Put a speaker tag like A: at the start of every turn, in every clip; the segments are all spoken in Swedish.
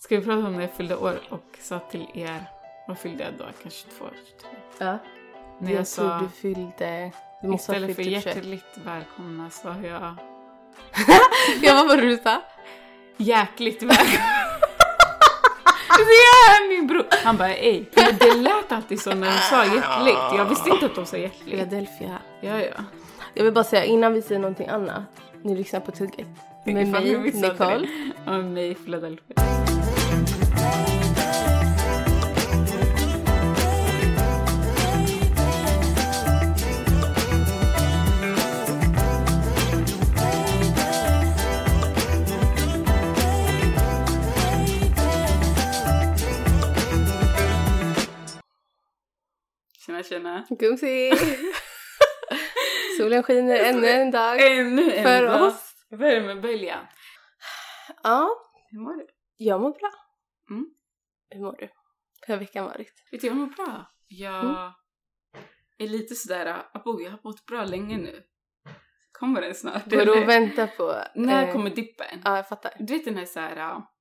A: Ska vi prata om när jag fyllde år och sa till er, vad fyllde jag då? Kanske 22, 23?
B: Ja.
A: När
B: jag
A: jag sa,
B: tror du fyllde... Du måste ha
A: istället
B: fyllt
A: för
B: typ tjugoett.
A: hjärtligt välkomna sa jag
B: Jag var vad du sa.
A: jäkligt välkomna. Så jag är min bror. Han bara ej. Men det lät alltid så när de sa hjärtligt. Jag visste inte att de sa hjärtligt.
B: Philadelphia.
A: Ja, ja.
B: Jag vill bara säga innan vi säger någonting annat. Ni lyssnar på tugget. Med
A: Ifall ni
B: mig,
A: missade
B: Nicole.
A: det. Och mig, Philadelphia. Tjena, tjena.
B: Gumsi! Solen skiner ännu en dag.
A: Ännu en
B: För
A: dag.
B: oss.
A: Värmebölja.
B: Ja,
A: Hur mår du?
B: jag mår bra.
A: Mm.
B: Hur mår du? Hur har veckan varit?
A: Vet du, jag mår bra. Jag är lite sådär, abo, jag har mått bra länge nu. Kommer den snart?
B: Vadå
A: eller?
B: vänta på...
A: När
B: eh,
A: kommer dippen?
B: Ja, jag fattar.
A: Du vet den här såhär, ah,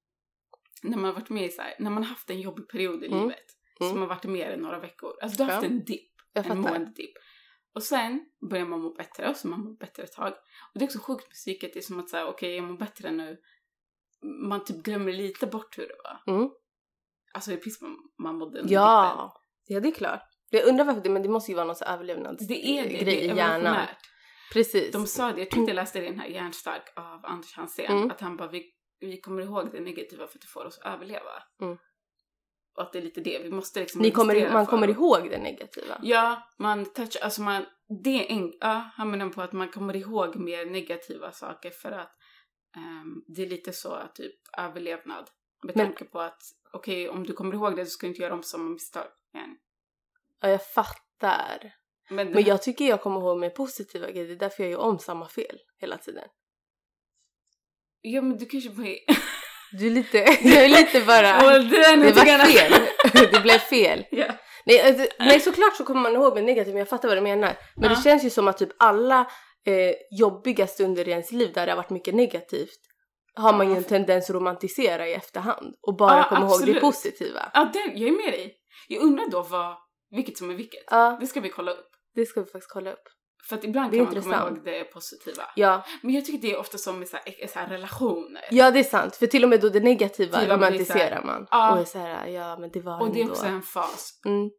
A: när man har varit med i såhär, när man har haft en jobbig period i
B: Mm.
A: livet. Som
B: Mm.
A: har varit mer än några veckor. Alltså du har haft
B: Ja.
A: en dipp,
B: Jag
A: en
B: fattar.
A: måendedipp. Och sen börjar man må bättre och så man mår bättre ett tag. Och det är också sjukt med psyket, det är som att säga okej jag mår bättre nu. Man typ glömmer lite bort hur det var.
B: Mm.
A: Alltså hur piss man, man mådde under dippen.
B: Ja, ja det är klart. Jag undrar varför det, men det måste ju vara någon överlevnadsgrej
A: Det är det, det
B: i
A: är
B: hjärnan.
A: evolutionärt.
B: Precis.
A: De sa det, jag tror inte jag läste det i den här Hjärnstark av Anders Hansén,
B: Mm.
A: att han bara vi, vi kommer ihåg det negativa för att det får oss att överleva.
B: Mm.
A: Och att det är lite det, vi måste liksom
B: Ni kommer,
A: justera
B: man
A: för-
B: kommer ihåg det negativa.
A: Ja, man touchar, alltså man, det är en, ja, han menar på att man kommer ihåg mer negativa saker för att ehm, det är lite så typ överlevnad. Med
B: Men-
A: tanke på att okej, om du kommer ihåg det så ska du inte göra om samma misstag igen.
B: Ja, jag fattar.
A: Men,
B: Men jag tycker jag kommer ihåg mer positiva grejer. Det är därför jag gör om samma fel hela tiden.
A: ja men du kanske börjar...
B: Du är lite, jag är lite bara...
A: Åh, det där är
B: Det
A: någonting
B: var
A: annat.
B: fel. Det blev fel.
A: Ja.
B: Nej, alltså, nej såklart så kommer man ihåg med negativt men jag fattar vad du menar. Men
A: Ja.
B: det känns ju som att typ alla eh, jobbiga stunder i ens liv där det har varit mycket negativt har man ju en tendens att romantisera i efterhand och bara
A: Ja,
B: komma ihåg det
A: absolut.
B: positiva.
A: Ja, det, jag är med dig. Jag undrar då vad, vilket som är vilket.
B: Ja,
A: Det ska vi kolla upp.
B: det ska vi faktiskt kolla upp.
A: För att ibland
B: Det är
A: kan man komma
B: intressant.
A: ihåg det positiva.
B: Ja,
A: Men jag tycker det är ofta som i så här, i så här relationer.
B: ja det är sant. För till och med då det negativa
A: Till och med det är så här-
B: romantiserar man.
A: Ja.
B: Och är så här, ja men det var
A: Och det är
B: ändå.
A: också en fas.
B: Mm,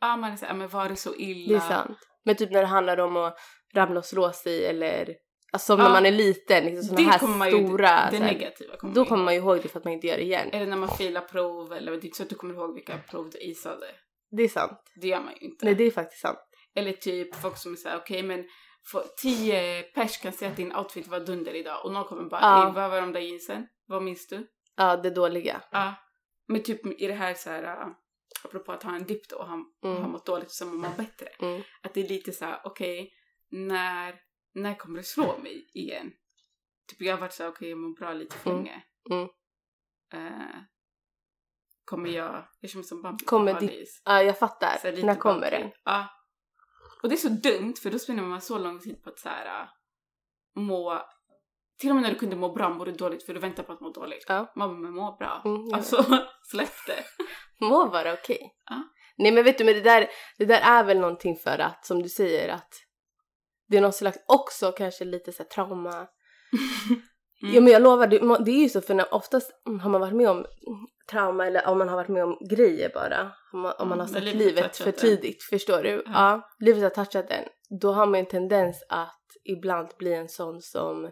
A: Ja, man är såhär, men var det så
B: det är
A: illa?
B: sant. Men typ när det handlar om att ramla och slå sig eller alltså som
A: Ja.
B: när man är liten, liksom sådana här
A: kommer man ju-
B: stora.
A: Det
B: så här,
A: negativa kommer
B: då
A: man
B: kommer
A: ihåg.
B: man ju ihåg det för att man inte gör det igen.
A: Eller när man filar prov, eller det är inte så att du kommer ihåg vilka prov du isade.
B: Det är sant.
A: Det gör man ju inte.
B: Nej, det är faktiskt sant.
A: Eller typ folk som är såhär, okej men få- tio pers kan säga att din outfit var dunder idag och någon kommer bara,
B: Ja.
A: "Ey, vad var de där jeansen? Vad minns du?
B: Ja, det dåliga.
A: Ja. Men typ i det här så här, äh, apropå att ha en dipp då och han,
B: Mm.
A: och han mått dåligt och sen mår man bättre.
B: Mm.
A: Att det är lite så här, okej, när, när kommer det slå mig igen? Typ jag har varit så här, okej jag mår bra lite för
B: Mm.
A: länge.
B: Mm.
A: Eh, kommer jag, jag känner mig som Bambi. på
B: Kommer
A: hal
B: ditt-
A: is.
B: Ja, jag
A: Så här
B: fattar.
A: lite
B: När kommer
A: Bambi.
B: den?
A: typ Ja. Och det är så dumt för då spenderar man så lång tid på att så här, äh, må, till och med när du kunde må bra mår du dåligt för du väntar på att må dåligt.
B: Ja.
A: Man bara, men må bra.
B: Mm, ja.
A: Alltså, släpp det.
B: Må vara okej.
A: Ja.
B: Nej, men vet du, men det där, det där är väl någonting för att, som du säger, att det är någon slags också kanske lite så här trauma.
A: Mm.
B: Ja, men jag lovar, det, ma- det är ju så för när oftast mm, har man varit med om trauma eller om man har varit med om grejer bara, om man, om man har
A: Mm,
B: sett
A: när livet har
B: livet
A: touchat
B: för
A: en.
B: tidigt, förstår du?
A: Ja.
B: Ja, livet har touchat en. Då har man ju en tendens att ibland bli en sån som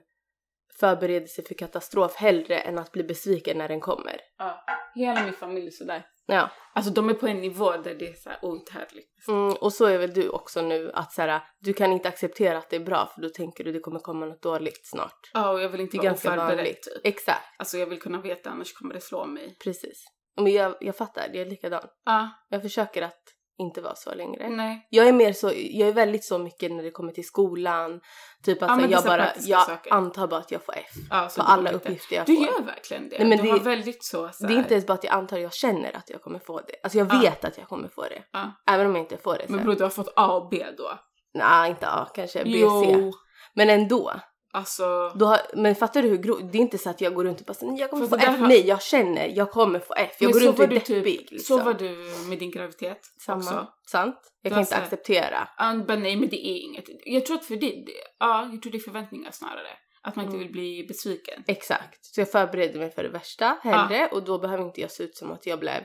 B: förbereder sig för katastrof hellre än att bli besviken när den kommer.
A: Ja. Hela min familj är sådär.
B: Ja,
A: Alltså de är på en nivå där det är såhär outhärdligt.
B: mm, och så är väl du också nu att så här, du kan inte acceptera att det är bra för då tänker du det kommer komma något dåligt snart.
A: Ja, och jag vill inte
B: Det är
A: vara
B: ganska
A: oförberedd
B: vanligt.
A: typ.
B: Exakt,
A: Alltså jag vill kunna veta annars kommer det slå mig.
B: precis. Men jag, jag fattar, jag är likadan.
A: Ja,
B: Jag försöker att inte vara så längre.
A: nej.
B: Jag är mer så, jag är väldigt så mycket när det kommer till skolan. Typ att
A: Ja,
B: så
A: men
B: jag
A: vissa
B: bara,
A: praktiska
B: jag
A: saker.
B: antar bara att jag får F.
A: Ja, så
B: På
A: du
B: alla
A: kommer inte-
B: uppgifter jag
A: Du
B: får.
A: gör verkligen det.
B: Nej, men
A: du
B: det-
A: har väldigt så, så
B: Det är inte ens bara att jag antar, jag känner att jag kommer få det. Alltså jag
A: Ja.
B: vet att jag kommer få det.
A: Ja.
B: Även om jag inte får det
A: Men
B: sen.
A: bror du har fått A och B då.
B: Nej, inte A, kanske B, C.
A: Jo.
B: Men ändå.
A: Alltså,
B: Då har, men fattar du hur grovt? Det är inte så att jag går runt och bara säger jag kommer
A: För
B: få
A: det
B: F.
A: har-
B: Nej, jag känner, jag kommer få F. Jag
A: Men
B: går
A: så
B: runt
A: var
B: och är
A: du typ-
B: deppig.
A: så
B: liksom.
A: var du med din graviditet
B: Samma.
A: också.
B: Sant?
A: Du
B: Jag kan
A: har
B: inte
A: så här-
B: acceptera.
A: Han bara, nej men det är inget. Jag tror att för det, det, ja, jag tror det är förväntningar snarare. Att man inte
B: Mm.
A: vill bli besviken.
B: Exakt. Så jag förberedde mig för det värsta hellre och då behöver inte jag se ut som att jag blev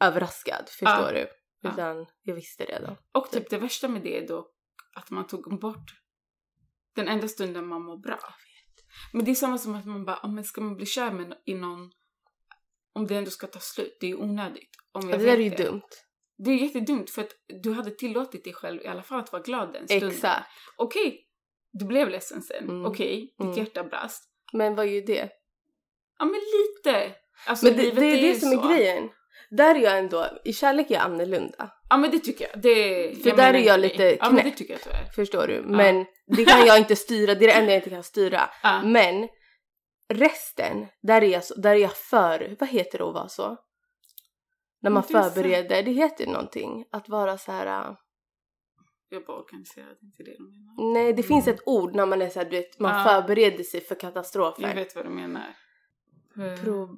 B: överraskad. Förstår du?
A: Ja.
B: Utan jag visste redan.
A: Och typ det värsta med det är dock att man tog bort den enda stunden man mår bra. Men det är samma som att man bara, oh, men ska man bli kär med no- i någon om det ändå ska ta slut? Det är ju onödigt. Om
B: Ja,
A: jag
B: det där är
A: vet
B: ju dumt.
A: Det är jättedumt för att du hade tillåtit dig själv i alla fall att vara glad den stunden.
B: Exakt.
A: Okej, du blev ledsen sen.
B: Mm.
A: Okej, ditt
B: Mm.
A: hjärta brast.
B: Men vad är ju det?
A: Ja men lite. Alltså,
B: Men det,
A: livet
B: det är
A: ju
B: det som
A: så.
B: är grejen. Där är jag ändå, i kärlek är jag annorlunda.
A: Ja men det tycker jag. Det,
B: För
A: jag
B: där
A: menar
B: är jag
A: inte dig.
B: lite
A: Ja men det
B: knäpp.
A: tycker jag tyvärr.
B: Förstår du? Men det kan jag inte styra, det är det enda jag inte kan styra.
A: Ja.
B: Men resten, där är jag, så, där är jag för, vad heter det att vara så? När man
A: Men det är så-
B: förbereder, det heter ju någonting. Att vara så här. äh,
A: Jag bara organiserad, inte det de menar.
B: nej det finns
A: Mm.
B: ett ord när man är så här, du vet, man
A: Ja.
B: förbereder sig för
A: Ah. Jag
B: katastrofer.
A: vet vad du menar. Eh,
B: Pro,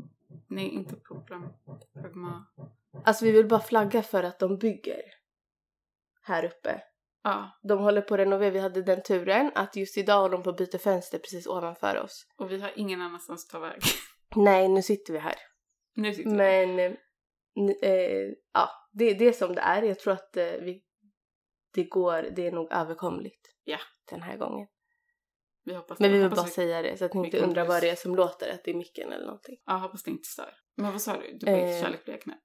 A: Nej, inte problem. Pragma.
B: alltså vi vill bara flagga för att de bygger här uppe.
A: Ja,
B: De håller på att renovera, vi hade den turen att just idag håller de på att byta fönster precis ovanför oss.
A: och vi har ingen annanstans att ta väg.
B: Nej, nu sitter vi här.
A: nu sitter vi.
B: Men eh, n- eh, ja, det, det är som det är. Jag tror att eh, vi, det går, det är nog överkomligt.
A: Ja.
B: Den här gången.
A: Vi hoppas
B: Men vi vill
A: hoppas
B: bara säga det så att ni
A: vi
B: inte
A: kommer
B: undrar
A: bli-
B: vad det är som låter, att det är micken eller någonting.
A: Ja, hoppas det inte stör. Men vad sa du? Du bara,
B: Eh.
A: kärlek blir jag knäpp.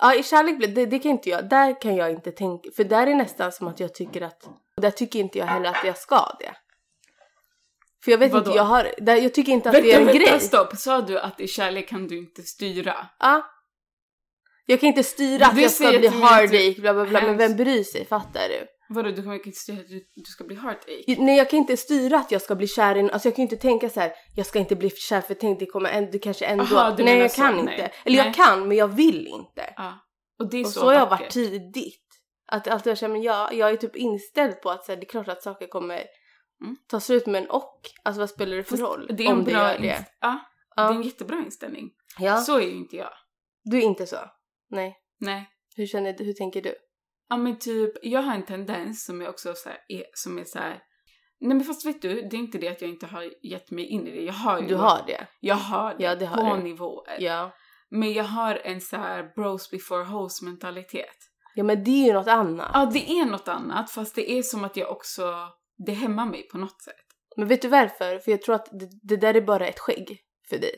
B: Ja, i kärlek, blir- det, det kan inte jag, där kan jag inte tänka, för där är nästan som att jag tycker att, där tycker inte jag heller att jag ska det. För jag vet
A: Vadå?
B: inte, jag har, där, jag tycker inte att
A: Vänta,
B: det är en
A: vänta,
B: grej.
A: stopp! Sa du att i kärlek kan du inte styra?
B: Ja. Jag kan inte styra att
A: Du
B: jag ska
A: säger
B: bli
A: till mig att du-
B: heartache, bla bla bla, men
A: Hemskt.
B: vem bryr sig, fattar du?
A: Vadå, du kommer inte styra att du, du ska bli heartache?
B: Nej jag kan inte styra att jag ska bli kär i en- alltså jag kan ju inte tänka så här. jag ska inte bli kär för tänk det kommer ändå, du kanske ändå,
A: Aha, du
B: nej
A: menar
B: jag
A: så,
B: kan
A: nej.
B: inte. Eller
A: Nej.
B: jag kan men jag vill inte.
A: Ja. Och det är
B: Och
A: så
B: så har jag
A: vackert.
B: varit tidigt. Att, att jag känner, men jag, jag är typ inställd på att så här, det är klart att saker kommer
A: Mm.
B: ta slut men och, alltså vad spelar det för
A: Fast
B: roll
A: Det är en
B: om
A: bra
B: det gör det?
A: inst- ja, det är en
B: Ja.
A: jättebra inställning.
B: ja,
A: Så är ju inte jag.
B: du är inte så? Nej.
A: Nej.
B: Hur känner du, hur tänker du?
A: Ja men typ, jag har en tendens som är också så här, är, som är så här. Nej men fast vet du, det är inte det att jag inte har gett mig in i det. Jag har ju...
B: Du har det?
A: Jag har det,
B: Ja, det har
A: på
B: du.
A: nivåer.
B: Ja.
A: Men jag har en så här bros before hoes mentalitet.
B: Ja men det är ju något annat.
A: Ja, det är något annat fast det är som att jag också, det hämmar mig på något sätt.
B: Men vet du varför? För jag tror att det, det där är bara ett skägg för dig.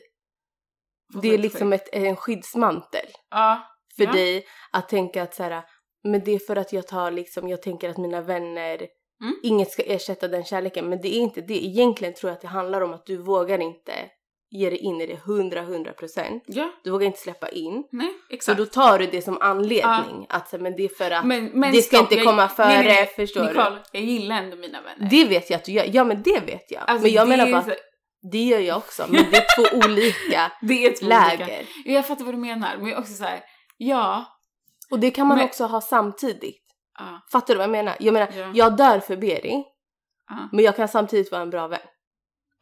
A: Vad
B: Det
A: var
B: är
A: för
B: liksom
A: skämt?
B: ett, en skyddsmantel
A: Ja,
B: för
A: Ja.
B: dig att tänka att så här, men det är för att jag tar liksom, jag tänker att mina vänner,
A: Mm.
B: inget ska ersätta den kärleken. Men det är inte det. Egentligen tror jag att det handlar om att du vågar inte ge dig in i det hundra, hundra procent.
A: ja,
B: Du vågar inte släppa in.
A: nej,
B: Så
A: exakt.
B: då tar du det som anledning. Att så här, men det är för att
A: men, men
B: det ska
A: stopp,
B: inte komma före,
A: nej, nej,
B: förstår
A: nej.
B: du?
A: Nicole, jag gillar ändå mina vänner.
B: Det vet jag att du gör. Ja men det vet jag.
A: Alltså,
B: men jag
A: det
B: menar
A: är
B: bara,
A: så-
B: att det gör jag också. Men det är två olika
A: det är två
B: läger.
A: olika. Jag fattar vad du menar, men jag är också så här, ja,
B: Och det kan man
A: Men-
B: också ha samtidigt.
A: ja,
B: Fattar du vad jag menar? Jag menar,
A: Ja.
B: jag dör för Beri,
A: ja,
B: men jag kan samtidigt vara en bra vän.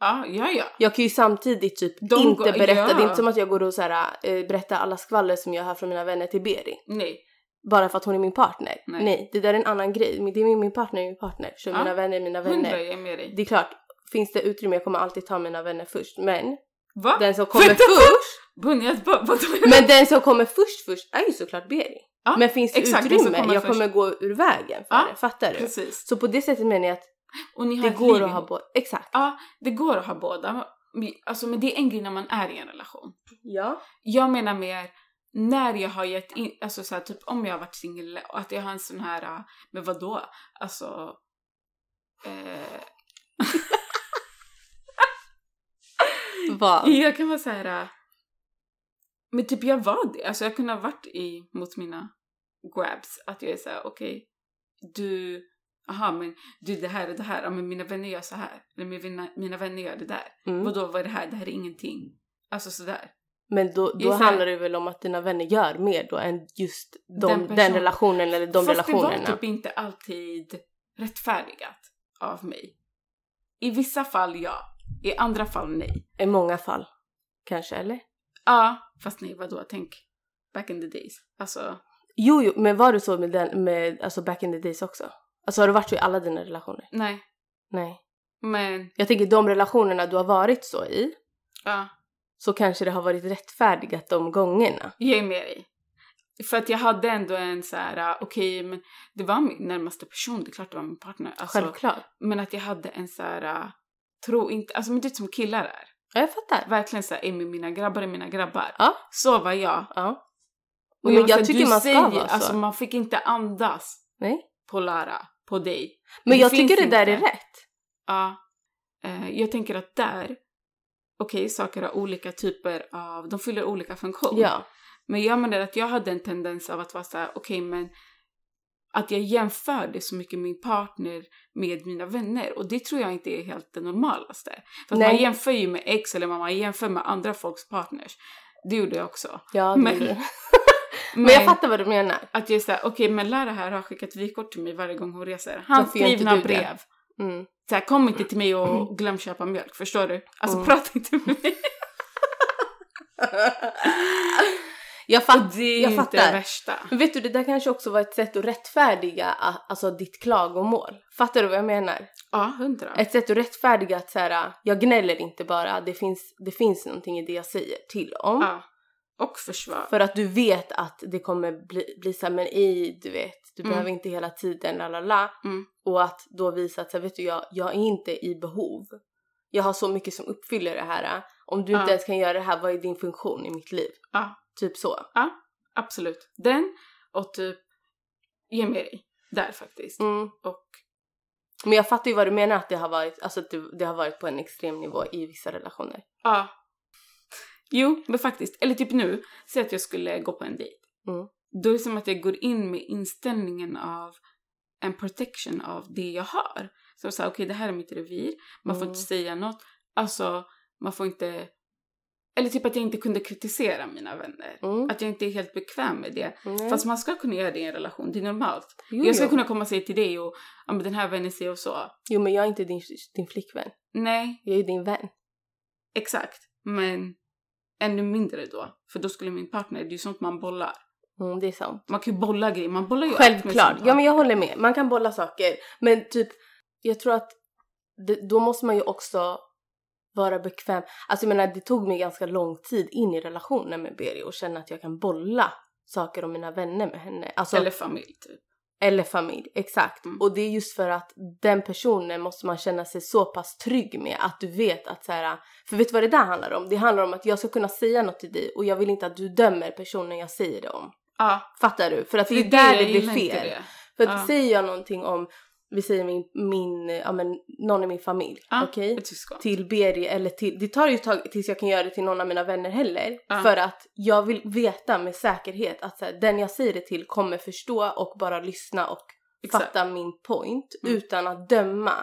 A: ja, ja, ja.
B: Jag kan ju samtidigt typ
A: De
B: inte
A: går-
B: berätta,
A: ja.
B: det är inte som att jag går och så här, eh, berättar alla skvaller som jag hör från mina vänner till Beri.
A: nej.
B: Bara för att hon är min partner.
A: Nej.
B: Nej, det där är en annan grej. Men Det är min, min partner, är min partner. Så
A: Ja.
B: mina vänner är mina
A: Hundra,
B: vänner.
A: jag är med dig.
B: Det är klart, finns det utrymme, jag kommer alltid ta mina vänner först. Men
A: Va?
B: den som kommer
A: Vänta,
B: först,
A: Bunjat, vad vad tog jag?
B: men den som kommer först först är ju såklart Beri.
A: Ja,
B: men finns det
A: exakt, den som
B: utrymme,
A: kommer
B: jag
A: först.
B: kommer gå ur vägen för
A: Ja,
B: det. Fattar du?
A: Precis.
B: Så på det sättet menar jag att
A: Och ni har
B: det
A: ett
B: går
A: liv
B: att ha
A: ihop.
B: båda. Exakt.
A: Ja, det går att ha båda. Men- Alltså, men det är en grej när man är i en relation.
B: Ja.
A: Jag menar mer när jag har gett in, alltså så här, typ om jag har varit singel och att jag har en sån här, äh, men vadå? Alltså... Eh,
B: Vad?
A: jag kan vara så här. äh, Men typ jag var det, alltså jag kunde ha varit i, mot mina grabs, att jag är såhär okej, du, aha men du det här och det här, ja, men mina vänner gör så här, eller mina, mina vänner gör det där.
B: Mm.
A: Vadå, vad är det här? Det här är ingenting. Alltså sådär.
B: Men då,
A: Det är
B: då
A: så här-
B: handlar det väl om att dina vänner gör mer då än just
A: Den
B: de, den,
A: personen.
B: relationen eller de
A: Fast det var
B: relationerna.
A: typ inte alltid rättfärdigat av mig. I vissa fall ja, i andra fall nej.
B: I många fall. Kanske, eller?
A: Ja, fast nej vadå, tänk back in the days. Alltså,
B: Jo, jo, men var det så med, den, med alltså back in the days också? Alltså har du varit så i alla dina relationer?
A: nej.
B: Nej.
A: Men,
B: Jag tänker de relationerna du har varit så i,
A: ja,
B: så kanske det har varit rättfärdigat de gångerna.
A: jag är med dig. För att jag hade ändå en så här, äh, okej, men det var min närmaste person, det är klart det var min partner. Alltså,
B: Självklart.
A: Men att jag hade en så här, äh, tro inte, alltså men det är som killar är.
B: Ja, jag fattar.
A: Verkligen så här, är mina grabbar är mina grabbar.
B: Ja.
A: Så var jag.
B: Ja.
A: Och
B: Men
A: var
B: jag
A: så här,
B: tycker
A: du
B: man ska
A: säger-
B: vara så.
A: Alltså man fick inte andas
B: Nej.
A: på Lara, på dig.
B: Men
A: Det
B: jag
A: finns
B: tycker det där är
A: inte.
B: rätt.
A: Ja. Eh, jag tänker att där, okej, saker har olika typer av, de fyller olika funktion.
B: Ja.
A: Men jag menar att jag hade en tendens av att vara så här, okej men att jag jämförde så mycket min partner med mina vänner och det tror jag inte är helt det normalaste. För att
B: Nej.
A: man jämför ju med ex eller man jämför med andra folks partners. Det gjorde jag också.
B: ja
A: Men-
B: men, men jag fattar vad du menar.
A: Att jag är såhär, okej men Lara här har skickat vykort till mig varje gång hon reser. Handskrivna
B: gör inte du det?
A: brev.
B: Mm.
A: Så här, kom inte till mig och glöm köpa mjölk, förstår du? Alltså
B: Mm.
A: prata inte med mig.
B: Jag, fatt,
A: Det är
B: jag
A: ju inte det
B: fattar.
A: värsta.
B: Men vet du, det där kanske också var ett sätt att rättfärdiga a- alltså, ditt klagomål. Fattar du vad jag menar?
A: Ja, hundra.
B: Ett sätt att rättfärdiga att så här, jag gnäller inte bara, det finns, det finns någonting i det jag säger till om.
A: Ja. Och försvar.
B: För att du vet att det kommer bli, bli så här, men i, du vet, du
A: Mm.
B: behöver inte hela tiden, la la la.
A: Mm.
B: Och att då visa att så här, vet du, jag, jag är inte i behov. Jag har så mycket som uppfyller det här. Om du
A: Ja.
B: inte ens kan göra det här, vad är din funktion i mitt liv?
A: Ja.
B: Typ så.
A: Absolut. Den och typ ge med dig. Där faktiskt.
B: Mm.
A: Och
B: Men jag fattar ju vad du menar att det har varit, alltså att det, det har varit på en extrem nivå i vissa relationer.
A: ja. Jo, men faktiskt. Eller typ nu, säg att jag skulle gå på en dejt.
B: Mm.
A: Då är det som att jag går in med inställningen av en protection av det jag har. Så såhär, okej det här är mitt revir, man får
B: Mm.
A: inte säga något. Alltså, man får inte... Eller typ att jag inte kunde kritisera mina vänner.
B: Mm.
A: Att jag inte är helt bekväm med det.
B: Nej.
A: Fast man ska kunna göra det i en relation, det är normalt.
B: jo,
A: jag ska
B: jo.
A: kunna komma och säga till dig och ja, men den här vännen säger och så.
B: jo men jag är inte din, din flickvän,
A: Nej,
B: jag är ju din vän.
A: exakt. Men ännu mindre då. För då skulle min partner, det är ju sånt man bollar.
B: Mm, det är sant.
A: Man kan ju bolla grejer, man bollar ju allt med sin
B: Självklart. Ja
A: partner.
B: men jag håller med, man kan bolla saker. Men typ, jag tror att det, då måste man ju också vara bekväm. Alltså jag menar det tog mig ganska lång tid in i relationen med Beri och känna att jag kan bolla saker om mina vänner med henne. Alltså,
A: Eller familj typ.
B: Eller familj, exakt.
A: Mm.
B: Och det är just för att den personen måste man känna sig så pass trygg med att du vet att så här, för vet du vad det där handlar om? Det handlar om att jag ska kunna säga något till dig och jag vill inte att du dömer personen jag säger det om.
A: Ja,
B: Fattar du? För att det är
A: det
B: där
A: jag
B: det blir
A: gillar inte
B: fel.
A: det.
B: För att
A: Ja.
B: säger jag någonting om, vi säger min, min ja men någon i min familj,
A: Ja,
B: okej?
A: ett syskon.
B: Till Beri eller till, det tar ju ett tag tills jag kan göra det till någon av mina vänner heller.
A: Ja.
B: För att jag vill veta med säkerhet att så här, den jag säger det till kommer förstå och bara lyssna och
A: Exakt.
B: fatta min point
A: Mm.
B: utan att döma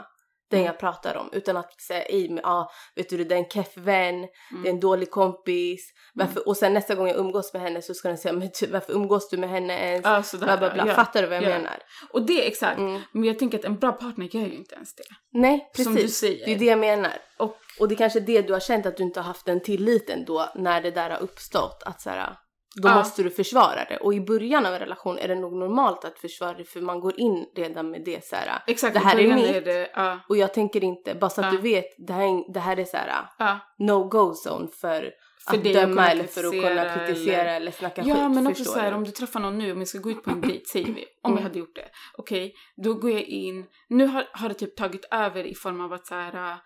B: den
A: Mm.
B: jag pratar om. Utan att säga ej men ah, vet du det är en keff vän,
A: Mm.
B: det är en dålig kompis. Varför? Och sen nästa gång jag umgås med henne så ska den säga men typ, varför umgås du med henne ens?
A: Ja, sådär.
B: Bla, bla, bla.
A: Ja.
B: Fattar du vad jag
A: Ja.
B: menar?
A: Och det är exakt.
B: Mm.
A: Men jag tänker att en bra partner gör ju inte ens det.
B: Nej precis,
A: Som du säger.
B: det är det jag menar.
A: Och
B: Och det är kanske är det du har känt att du inte har haft den tilliten då när det där har uppstått. Att så här, då
A: Ja.
B: måste du försvara det. Och i början av en relation är det nog normalt att försvara det för man går in redan med det så här.
A: exakt,
B: Det
A: i
B: här är
A: början
B: mitt.
A: det, ja,
B: Och jag tänker inte, bara så att
A: Ja.
B: du vet, det här, är- det här är så här
A: ja.
B: no-go zone för,
A: För
B: att
A: dig att kunna
B: döma eller för att kunna
A: kritisera
B: kritisera eller,
A: eller-
B: snacka skit.
A: Ja, men också
B: förstår
A: så här,
B: du?
A: om du träffar någon nu, om vi ska gå ut på en dejt, säger vi. Om
B: Mm.
A: jag hade gjort det. Okej, då går jag in. Nu har, har det typ tagit över i form av att så här, äh,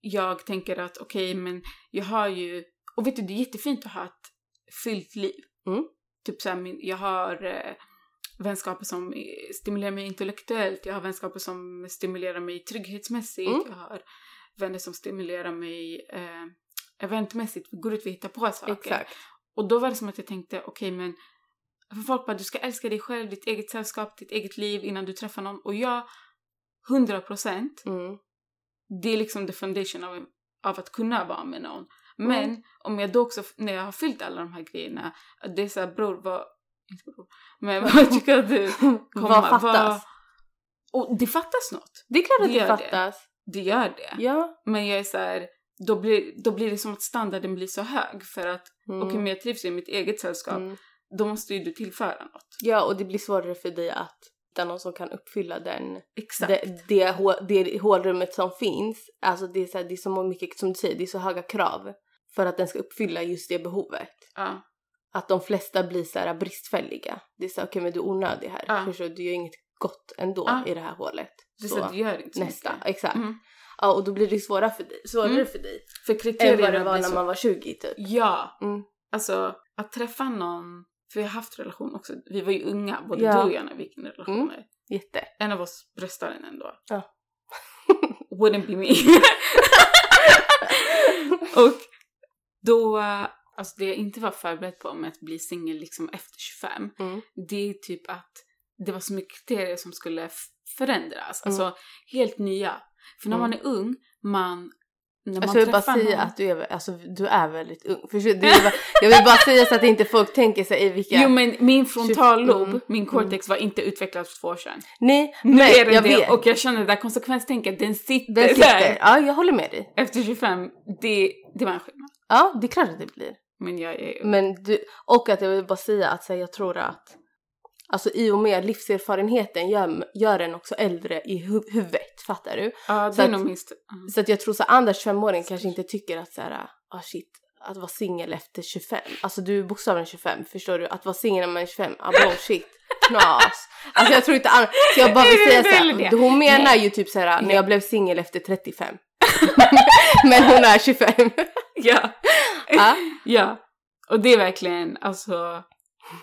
A: jag tänker att okej, men jag har ju... Och vet du, det är jättefint att ha ett fyllt liv.
B: Mm.
A: Typ så här, min, jag har eh, vänskaper som eh, stimulerar mig intellektuellt. Jag har vänskaper som stimulerar mig trygghetsmässigt.
B: Mm.
A: Jag har vänner som stimulerar mig eh, eventmässigt. Vi går ut och hittar på saker.
B: Exakt.
A: Och då var det som att jag tänkte, okej men för folk bara, du ska älska dig själv, ditt eget sällskap, ditt eget liv innan du träffar någon. Och jag, 100 procent,
B: Mm.
A: det är liksom the foundation av, av att kunna vara med någon. Men
B: Mm.
A: om jag då också, när jag har fyllt alla de här grejerna, att det är såhär bror, vad, inte bror, men vad tycker du?
B: Vad fattas?
A: och det fattas något.
B: Det är klart att
A: Det
B: det,
A: gör det.
B: fattas.
A: det gör det.
B: Ja.
A: Men jag är så här, då blir, då blir det som att standarden blir så hög för att
B: Mm.
A: okej men jag trivs i mitt eget sällskap,
B: Mm.
A: då måste ju du tillföra något.
B: Ja, och det blir svårare för dig att hitta någon som kan uppfylla den,
A: Exakt.
B: det, det, hå- det hålrummet som finns. Alltså det är, så här, det är så mycket, som du säger, det är så höga krav för att den ska uppfylla just det behovet.
A: Ja.
B: Att de flesta blir så här bristfälliga. Det är så här, okej men du är onödig här.
A: Ja.
B: Förstår du? Du gör inget gott ändå
A: Ja.
B: i det här hålet.
A: Det är
B: Så,
A: så att du gör inte så
B: nästa,
A: mycket.
B: exakt.
A: Mm.
B: Ja, och då blir det svårare för dig, svårare
A: Mm.
B: för dig
A: För
B: än
A: kriterierna
B: vad det var
A: blir
B: när
A: så...
B: man var 20 typ.
A: Ja.
B: Mm.
A: Alltså, att träffa någon... För vi har haft relation också. Vi var ju unga, både
B: Ja. Mm.
A: du och jag, när vi gick in i relationer.
B: Jätte.
A: En av oss bröstade den ändå.
B: Ja.
A: Wouldn't be me. och då... Alltså det jag inte var förberedd på med att bli singel liksom efter 25,
B: Mm.
A: det är typ att det var så mycket kriterier som skulle f- förändras.
B: Mm.
A: Alltså helt nya. För när
B: Mm.
A: man är ung, man... När
B: Alltså,
A: man
B: jag vill bara
A: träffar
B: säga
A: någon-
B: att du är, alltså, du är väldigt ung. Förstår du? Jag vill bara- Jag vill bara säga så att inte folk tänker sig i vilka...
A: Jo men min frontallob,
B: Mm.
A: min cortex var inte utvecklad för två år sedan.
B: Nej,
A: Nu
B: men
A: är den
B: jag
A: det
B: vet.
A: och jag känner det där konsekvenstänket, den sitter,
B: den sitter.
A: där.
B: Ja, jag håller med dig.
A: Efter 25, det, det var en skillnad.
B: Ja, det är klart att det blir.
A: Men jag är ju...
B: Men du, och att jag vill bara säga att så här, jag tror att alltså, i och med livserfarenheten gör, gör en också äldre i hu- huvudet, fattar du?
A: Ja,
B: Så
A: det är
B: att-
A: nog minst...
B: Så att jag tror så här, andra 25-åring kanske inte tycker att så här, ah shit, att vara singel efter 25. Alltså du är bokstavligen 25, förstår du? Att vara singel när man är 25, ah bro shit, knas. Alltså jag tror inte andra, så jag bara
A: Är
B: vill
A: det
B: säga
A: det
B: så
A: eller
B: här,
A: det?
B: hon menar
A: Nej.
B: ju typ så här när
A: Nej.
B: jag blev singel efter 35. Men hon är 25.
A: Ja.
B: Ja.
A: ja. Och det är verkligen, alltså...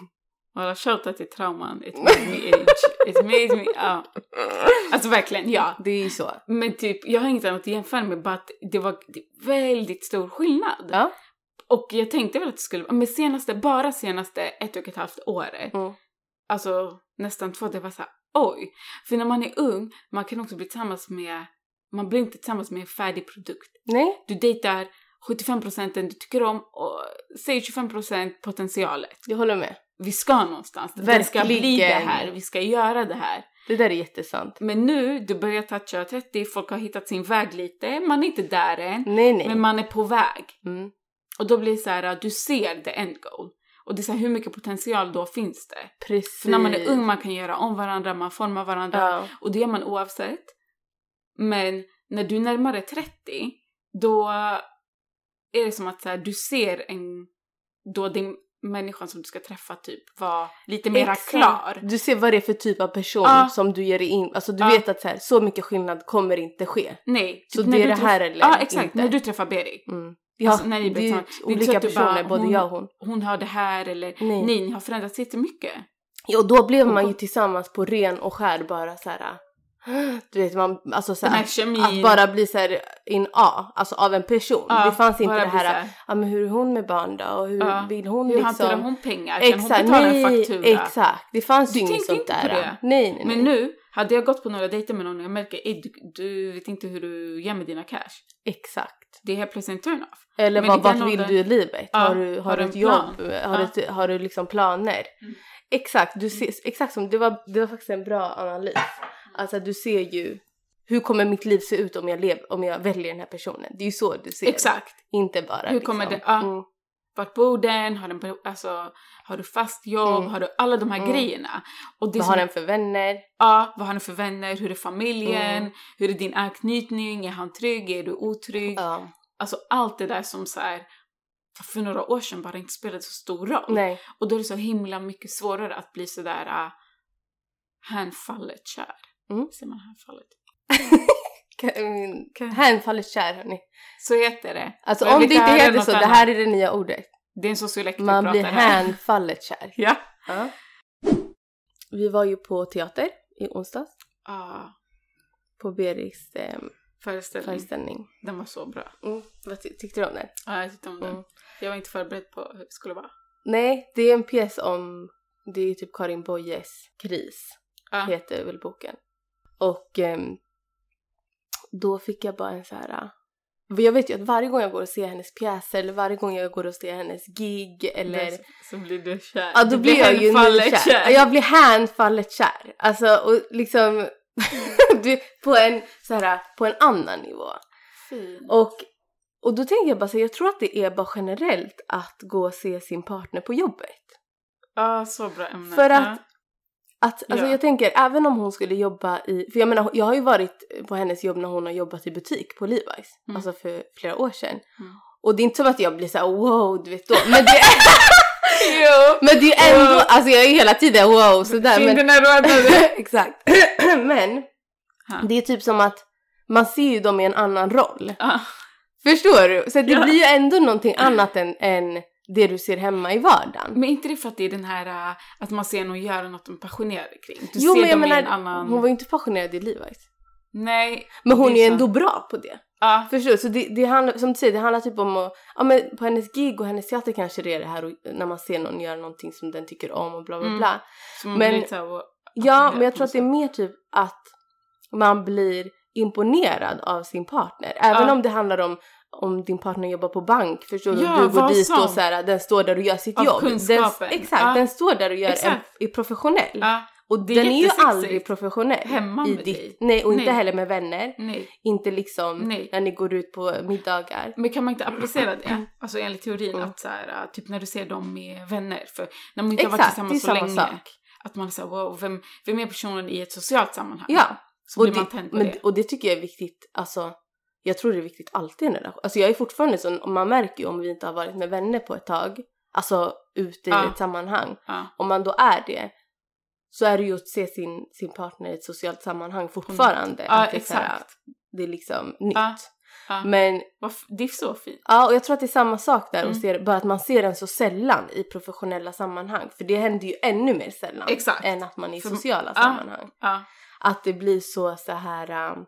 A: Bara shouta till trauman, it made me age. It made me... Ja. Alltså verkligen, ja.
B: Det är ju så.
A: Men typ, jag har inget annat att jämföra med, bara att det var det är väldigt stor skillnad.
B: Ja.
A: Och jag tänkte väl att det skulle men senaste, bara senaste ett och ett halvt året,
B: Mm.
A: alltså nästan två, det var såhär oj. För när man är ung, man kan också bli tillsammans med, man blir inte tillsammans med en färdig produkt.
B: Nej,
A: Du dejtar 75% du tycker om och säg 25% potentialet.
B: jag håller med.
A: Vi ska någonstans, det ska bli det
B: Verkligen.
A: här, vi ska göra det här.
B: Det där är jättesant.
A: Men nu, du börjar toucha 30, folk har hittat sin väg lite, man är inte där än,
B: Nej, nej.
A: men man är på väg.
B: Mm.
A: Och då blir det så här, du ser the end goal. Och det är så här, hur mycket potential då finns det?
B: Precis.
A: För när man är ung man kan göra om varandra, man formar varandra.
B: Ja.
A: Och det gör man oavsett. Men när du är närmare 30, då är det som att så här, du ser en, då den människan som du ska träffa typ var lite mera
B: Exakt.
A: klar.
B: Du ser vad det är för typ av person
A: Ja.
B: som du ger dig in Alltså du
A: Ja.
B: vet att så, här, så mycket skillnad kommer inte ske.
A: Nej. Typ
B: Så
A: när
B: det är
A: du
B: det här
A: träff-
B: eller
A: Ja, exakt.
B: inte.
A: När du träffar Berit.
B: Mm. Ja,
A: Alltså, när ni
B: det är
A: blir
B: ju
A: tillsammans. Det är inte så
B: olika
A: att du bara,
B: personer, både
A: hon-
B: jag och hon.
A: Hon har det här eller
B: Nej.
A: nej, ni har förändrats jättemycket.
B: Ja, och då blev man ju tillsammans på ren och skär bara så här. äh, Du vet, man, alltså så
A: Den
B: här,
A: här kemin.
B: att bara bli så här in A, alltså av en person.
A: Ja,
B: det fanns inte
A: bara
B: det
A: bli så
B: här, ja men hur är hon med barn då? Och hur
A: Ja.
B: vill hon
A: Hur
B: liksom?
A: hanterar hon pengar? Kan
B: Exakt,
A: Alltså, hon betala en
B: nej,
A: faktura?
B: exakt. Det fanns
A: Du
B: ju inget
A: tänkte
B: sånt
A: inte
B: där.
A: på det.
B: Nej, nej, nej.
A: Men nu, hade jag gått på några dejter med någon och jag märker att du, du vet inte hur du gör med dina cash.
B: Exakt.
A: Det är helt plötsligt en turn-off.
B: Eller
A: Men
B: vad,
A: i den
B: vart vill
A: åldern-
B: du i livet?
A: Ja,
B: har du, har du ett
A: en plan?
B: jobb? Har,
A: Ja.
B: du, ett- har du liksom planer?
A: Mm.
B: Exakt, du ser, exakt som, det, var, det var faktiskt en bra analys. Alltså du ser ju, hur kommer mitt liv se ut om jag, lev, om jag väljer den här personen? Det är ju så du ser
A: Exakt.
B: det. Inte bara
A: Hur kommer
B: liksom.
A: det- ja.
B: mm.
A: Vart bor den? Har, den, bo- alltså, har du fast jobb?
B: Mm.
A: Har du alla de här
B: Mm.
A: grejerna? Och det
B: Vad
A: som,
B: har den för vänner?
A: ja, vad har den för vänner? Hur är familjen?
B: Mm.
A: Hur är din anknytning? Är han trygg? Är du otrygg?
B: Ja.
A: Alltså allt det där som så här, för några år sedan bara inte spelade så stor roll.
B: Nej,
A: Och då är det så himla mycket svårare att bli sådär uh, hänfallet kär.
B: Mm.
A: Säger man hänfallet?
B: Kan- min- kan- hänfallet kär hörni.
A: Så heter det.
B: Alltså
A: Men
B: om
A: vi
B: det
A: kan
B: inte
A: höra
B: heter
A: något
B: så, det
A: annat.
B: här är det nya ordet.
A: Det är en sociolekt vi
B: Man
A: pratar
B: blir
A: här.
B: hänfallet kär.
A: Ja.
B: Ja. Vi var ju på teater i onsdags.
A: Ah,
B: på Beris eh,
A: föreställning.
B: föreställning.
A: Den var så bra.
B: Mm. Vad ty- tyckte du om den?
A: Ja, jag tyckte om den.
B: Mm.
A: Jag var inte förberedd på hur det skulle vara.
B: Nej, det är en pjäs om, det är typ Karin Boyes Kris,
A: Ja.
B: heter väl boken. Och ehm, då fick jag bara en så här... ah, för Jag vet ju att varje gång jag går och ser hennes pjäser eller varje gång jag går och ser hennes gig eller...
A: Eller... Så blir du kär.
B: Ja, då
A: Du
B: blir jag ju
A: hänfallet
B: nykär. Ja, Jag blir hänfallet kär. Alltså, och liksom... du, på, en, så här, på en annan nivå.
A: Fy.
B: Och, och då tänker jag bara så här, jag tror att det är bara generellt att gå och se sin partner på jobbet.
A: Ja, så bra ämne.
B: För
A: Ja.
B: att- Att, alltså
A: Ja.
B: jag tänker, även om hon skulle jobba i... För jag menar, jag har ju varit på hennes jobb när hon har jobbat i butik på Levi's.
A: Mm.
B: Alltså för flera år sedan.
A: Mm.
B: Och det är inte som att jag blir så här, wow, du vet då. Men det,
A: Jo!
B: men det är ju ändå,
A: Wow.
B: alltså jag är hela tiden wow sådär. Men,
A: Kinderna rodnade.
B: exakt. men
A: Ja.
B: det är typ som att man ser ju dem i en annan roll.
A: Ja.
B: Förstår du? Så det
A: Ja.
B: blir ju ändå någonting annat än, än det du ser hemma i vardagen.
A: Men är inte det för att det är den här äh, att man ser någon göra något de är passionerade kring? Du
B: jo
A: ser
B: men jag
A: dem i
B: menar,
A: en annan...
B: hon var ju inte passionerad i Levi's.
A: Nej.
B: Men hon
A: Det
B: är
A: är
B: ju
A: sant.
B: ändå bra på det.
A: Ja.
B: Förstår du? Så det, det handlar, som du säger, det handlar typ om att, ja men på hennes gig och hennes teater kanske det är det här och, när man ser någon göra någonting som den tycker om och bla bla
A: Mm.
B: bla.
A: Så man men...
B: Men-
A: blir lite så här, wow.
B: Ja,
A: det
B: men jag
A: på
B: tror
A: något
B: att det är mer typ att man blir imponerad av sin partner. Även
A: Ja.
B: om det handlar om om din partner jobbar på bank, förstår du?
A: Ja,
B: du går
A: vad
B: dit och
A: som.
B: så här, den står där och gör sitt
A: Av
B: jobb.
A: kunskapen.
B: Den, exakt,
A: Ja.
B: den står där och gör en,
A: Exakt.
B: är professionell.
A: Ja.
B: Och
A: Det är
B: den är ju
A: jättesexigt.
B: aldrig professionell.
A: Hemma
B: i
A: med dig.
B: Nej, och inte
A: Nej.
B: heller med vänner.
A: Nej.
B: Inte liksom
A: Nej.
B: när ni går ut på middagar.
A: Men kan man inte applicera det? Alltså enligt teorin
B: Mm.
A: att så här, äh, typ när du ser dem med vänner. För när man inte har varit
B: Exakt, det är
A: tillsammans så
B: samma
A: länge.
B: sak.
A: Att man säger wow, vem, vem är personen i ett socialt sammanhang?
B: Ja.
A: Så blir man tänd på
B: men,
A: det.
B: Och det tycker jag är viktigt, alltså jag tror det är viktigt alltid i en relation. Alltså jag är fortfarande sån, och man märker ju om vi inte har varit med vänner på ett tag, alltså ute i
A: Ja.
B: ett sammanhang,
A: Ja.
B: om man då är det så är det ju att se sin, sin partner i ett socialt sammanhang fortfarande.
A: Ja,
B: Att det, är så här,
A: exakt.
B: det är liksom nytt.
A: Ja, ja.
B: Men
A: Vad f- Det är så fint.
B: ja, och jag tror att det är samma sak där, och
A: Mm.
B: ser, bara att man ser den så sällan i professionella sammanhang. För det händer ju ännu mer sällan
A: Exakt.
B: än att man är i
A: För-
B: sociala
A: ja.
B: sammanhang
A: Ja.
B: att det blir så så här. um,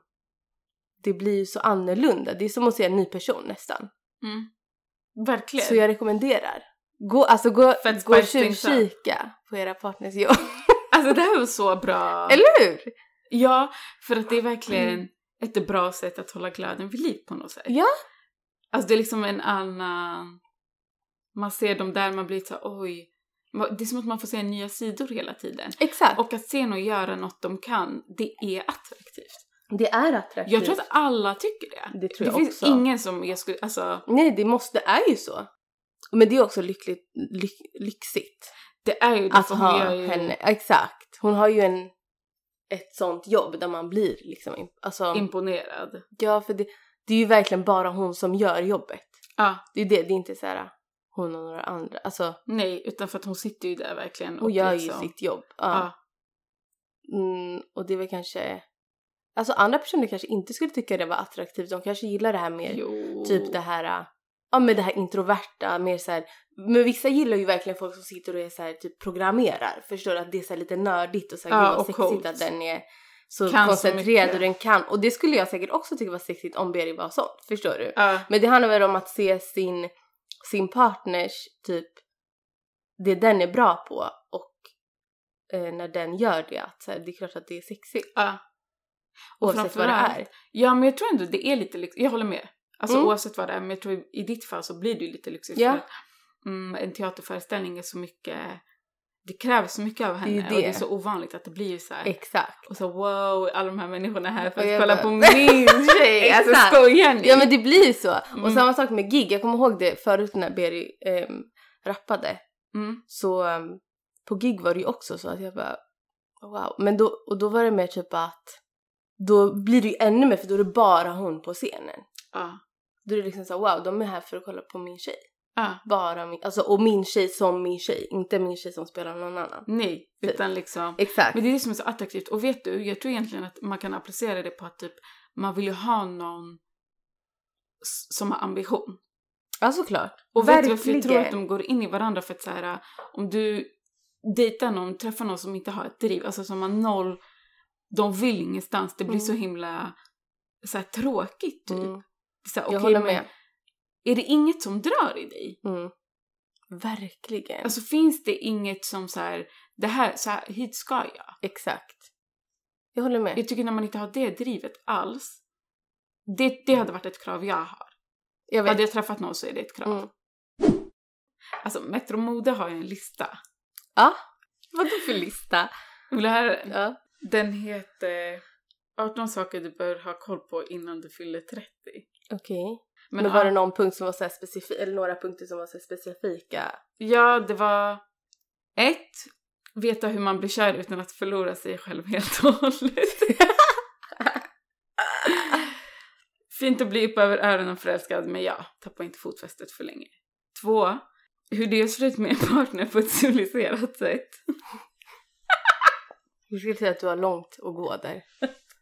B: det blir ju så annorlunda. Det är som att se en ny person nästan.
A: Mm. Verkligen.
B: Så jag rekommenderar. Gå, alltså gå,
A: För att
B: gå och
A: spice things up.
B: tjuvkika på era partners jobb.
A: Alltså det här var så bra.
B: Eller hur?
A: Ja, för att det är verkligen ett bra sätt att hålla glädjen vid liv på något sätt.
B: mm. Ja.
A: Alltså det är liksom en annan... Man ser dem där, man blir så här, oj. Ma- Det är som att man får se nya sidor hela tiden.
B: Exakt.
A: Och att se någon göra något de kan, det är attraktivt.
B: det är attraktivt.
A: Jag tror att alla tycker det.
B: Det tror jag
A: det finns
B: också.
A: ingen som jag skulle... Alltså,
B: Nej, det måste, det är ju så. Men det är också lyckligt, lyck, lyxigt
A: det är ju...
B: att
A: för
B: ha
A: hon gör ju
B: henne. Exakt. Hon har ju en, ett sånt jobb där man blir liksom, imp- alltså,
A: imponerad.
B: ja för det, det är ju verkligen bara hon som gör jobbet.
A: Ja,
B: Det är det, det är inte så här äh, hon och några andra. Alltså
A: nej, utan för att hon sitter ju där verkligen.
B: hon gör
A: liksom-
B: ju sitt jobb. Ja.
A: Ja.
B: Mm, och det är väl kanske... Alltså andra personer kanske inte skulle tycka det var attraktivt. De kanske gillar det här mer,
A: Jo.
B: typ det här... äh, Ja men det här introverta, mer så här, Men vissa gillar ju verkligen folk som sitter och är så här, typ programmerar. Förstår du? Att det är så här lite nördigt och så här,
A: Ja,
B: gud vad
A: och
B: sexigt
A: coolt.
B: att den är så
A: Kan så
B: koncentrerad
A: mycket.
B: och den kan. Och det skulle jag säkert också tycka var sexigt om Beri var sån. Förstår du?
A: Ja.
B: Men det handlar väl om att se sin, sin partners, typ, det den är bra på och eh, när den gör det, att så här, det är klart att det är sexigt
A: Ja. Och
B: oavsett vad det
A: framförallt-
B: är.
A: ja, men jag tror ändå det är lite lyxigt. Jag håller med. Alltså
B: Mm.
A: oavsett vad det är, men jag tror i ditt fall så blir det ju lite lyxigt.
B: Ja.
A: För att, mm, en teaterföreställning är så mycket, det krävs så mycket av
B: är ju
A: henne och det
B: det.
A: är så ovanligt att det blir ju så här.
B: Exakt.
A: och så wow, alla de här människorna här för
B: Och
A: att
B: jag
A: kolla
B: bara-
A: på min tjej! alltså
B: Exakt.
A: skojar ni?
B: Ja men det blir så. Och
A: Mm.
B: samma sak med gig, jag kommer ihåg det förut när Beri ehm, rappade.
A: mm.
B: Så ehm, på gig var det ju också så att jag bara wow. Men då, och då var det mer typ att då blir det ju ännu mer för då är det bara hon på scenen.
A: ja.
B: Då är det liksom så här, wow, de är här för att kolla på min tjej.
A: ja.
B: bara min, alltså och min tjej som min tjej, inte min tjej som spelar någon annan.
A: Nej, utan liksom.
B: Mm, Exakt.
A: Men det är det som är så attraktivt. Och vet du, jag tror egentligen att man kan applicera det på att typ, man vill ju ha någon s- som har ambition.
B: ja såklart.
A: Och vet du varför jag tror
B: Verkligen.
A: att de går in i varandra? För att så här, om du dejtar någon, träffar någon som inte har ett driv, alltså som har noll, de vill ingenstans, det blir
B: Mm.
A: så himla så här, tråkigt typ.
B: Mm,
A: Så här,
B: jag
A: okej,
B: håller
A: men
B: med.
A: Är det inget som drar i dig?
B: Mm. Verkligen.
A: Alltså finns det inget som så här, det här, så här, hit ska jag?
B: Exakt. Jag håller med.
A: Jag tycker när man inte har det drivet alls, det, det hade varit ett krav jag har.
B: Jag vet.
A: Hade jag träffat någon så är det ett krav.
B: Mm.
A: Alltså Metro Mode har ju en lista.
B: Ja. Vadå för lista?
A: Vill du höra den?
B: Ja.
A: Den heter 18 saker du bör ha koll på innan du fyller 30.
B: Okej. Men, var det någon punkt som var så här specifik, eller några punkter som var så här specifika?
A: Ja, det var ett, veta hur man blir kär utan att förlora sig själv helt och hållet. Fint att bli upp över öronen förälskad, men ja, tappa inte fotfästet för länge. Två, hur det gör slut med en partner på ett civiliserat sätt.
B: Jag skulle säga att du har långt att gå där.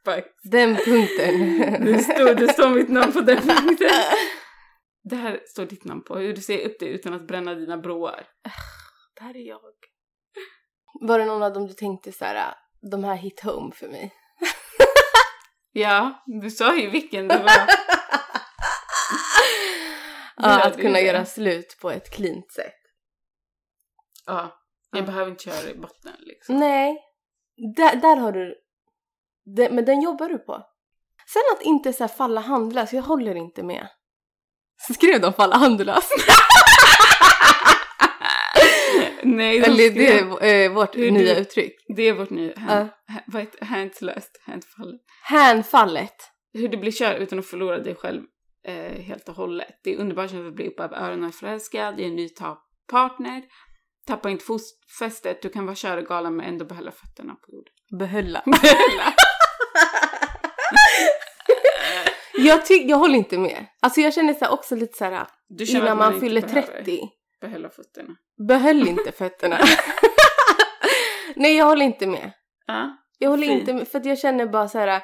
A: Fuck.
B: Den punkten.
A: Det står, det står mitt namn på den punkten. Det här står ditt namn på, hur du ser upp dig utan att bränna dina broar.
B: Där är jag. Var det någon av dem du tänkte så här, "Ah, de här hit home för mig?
A: Ja, du sa ju vilken det var.
B: ja, att
A: det är
B: kunna
A: det.
B: göra slut på ett cleant sätt.
A: Ja, jag
B: Ja.
A: behöver inte köra i botten liksom.
B: Nej, där, där har du... Det, men den jobbar du på. Sen att inte så här falla handlös, jag håller inte med. Skrev de falla handlös?
A: Nej, de
B: Eller det
A: skrev-
B: är eh, vårt
A: Hur
B: nya
A: du-
B: uttryck.
A: det är vårt nya... Hand,
B: Ja.
A: ha- vad heter Handslöst. Handfallet.
B: Hänfallet.
A: Hur du blir kär utan att förlora dig själv eh, helt och hållet. Det är underbart att bli uppe över öronen och förälskad i en ny ta- partner. Tappa inte fotfästet. Du kan vara kär och galen men ändå behålla fötterna på jorden.
B: Behölla. jag, ty- jag håller inte med. Alltså jag känner så här också lite så här
A: Du känner
B: innan
A: att
B: man,
A: inte
B: fyller
A: behöver
B: 30.
A: Behålla fötterna.
B: Behöll inte fötterna. Nej, jag håller inte med.
A: Ja.
B: Jag håller
A: Fint.
B: inte med, för att jag känner bara så här.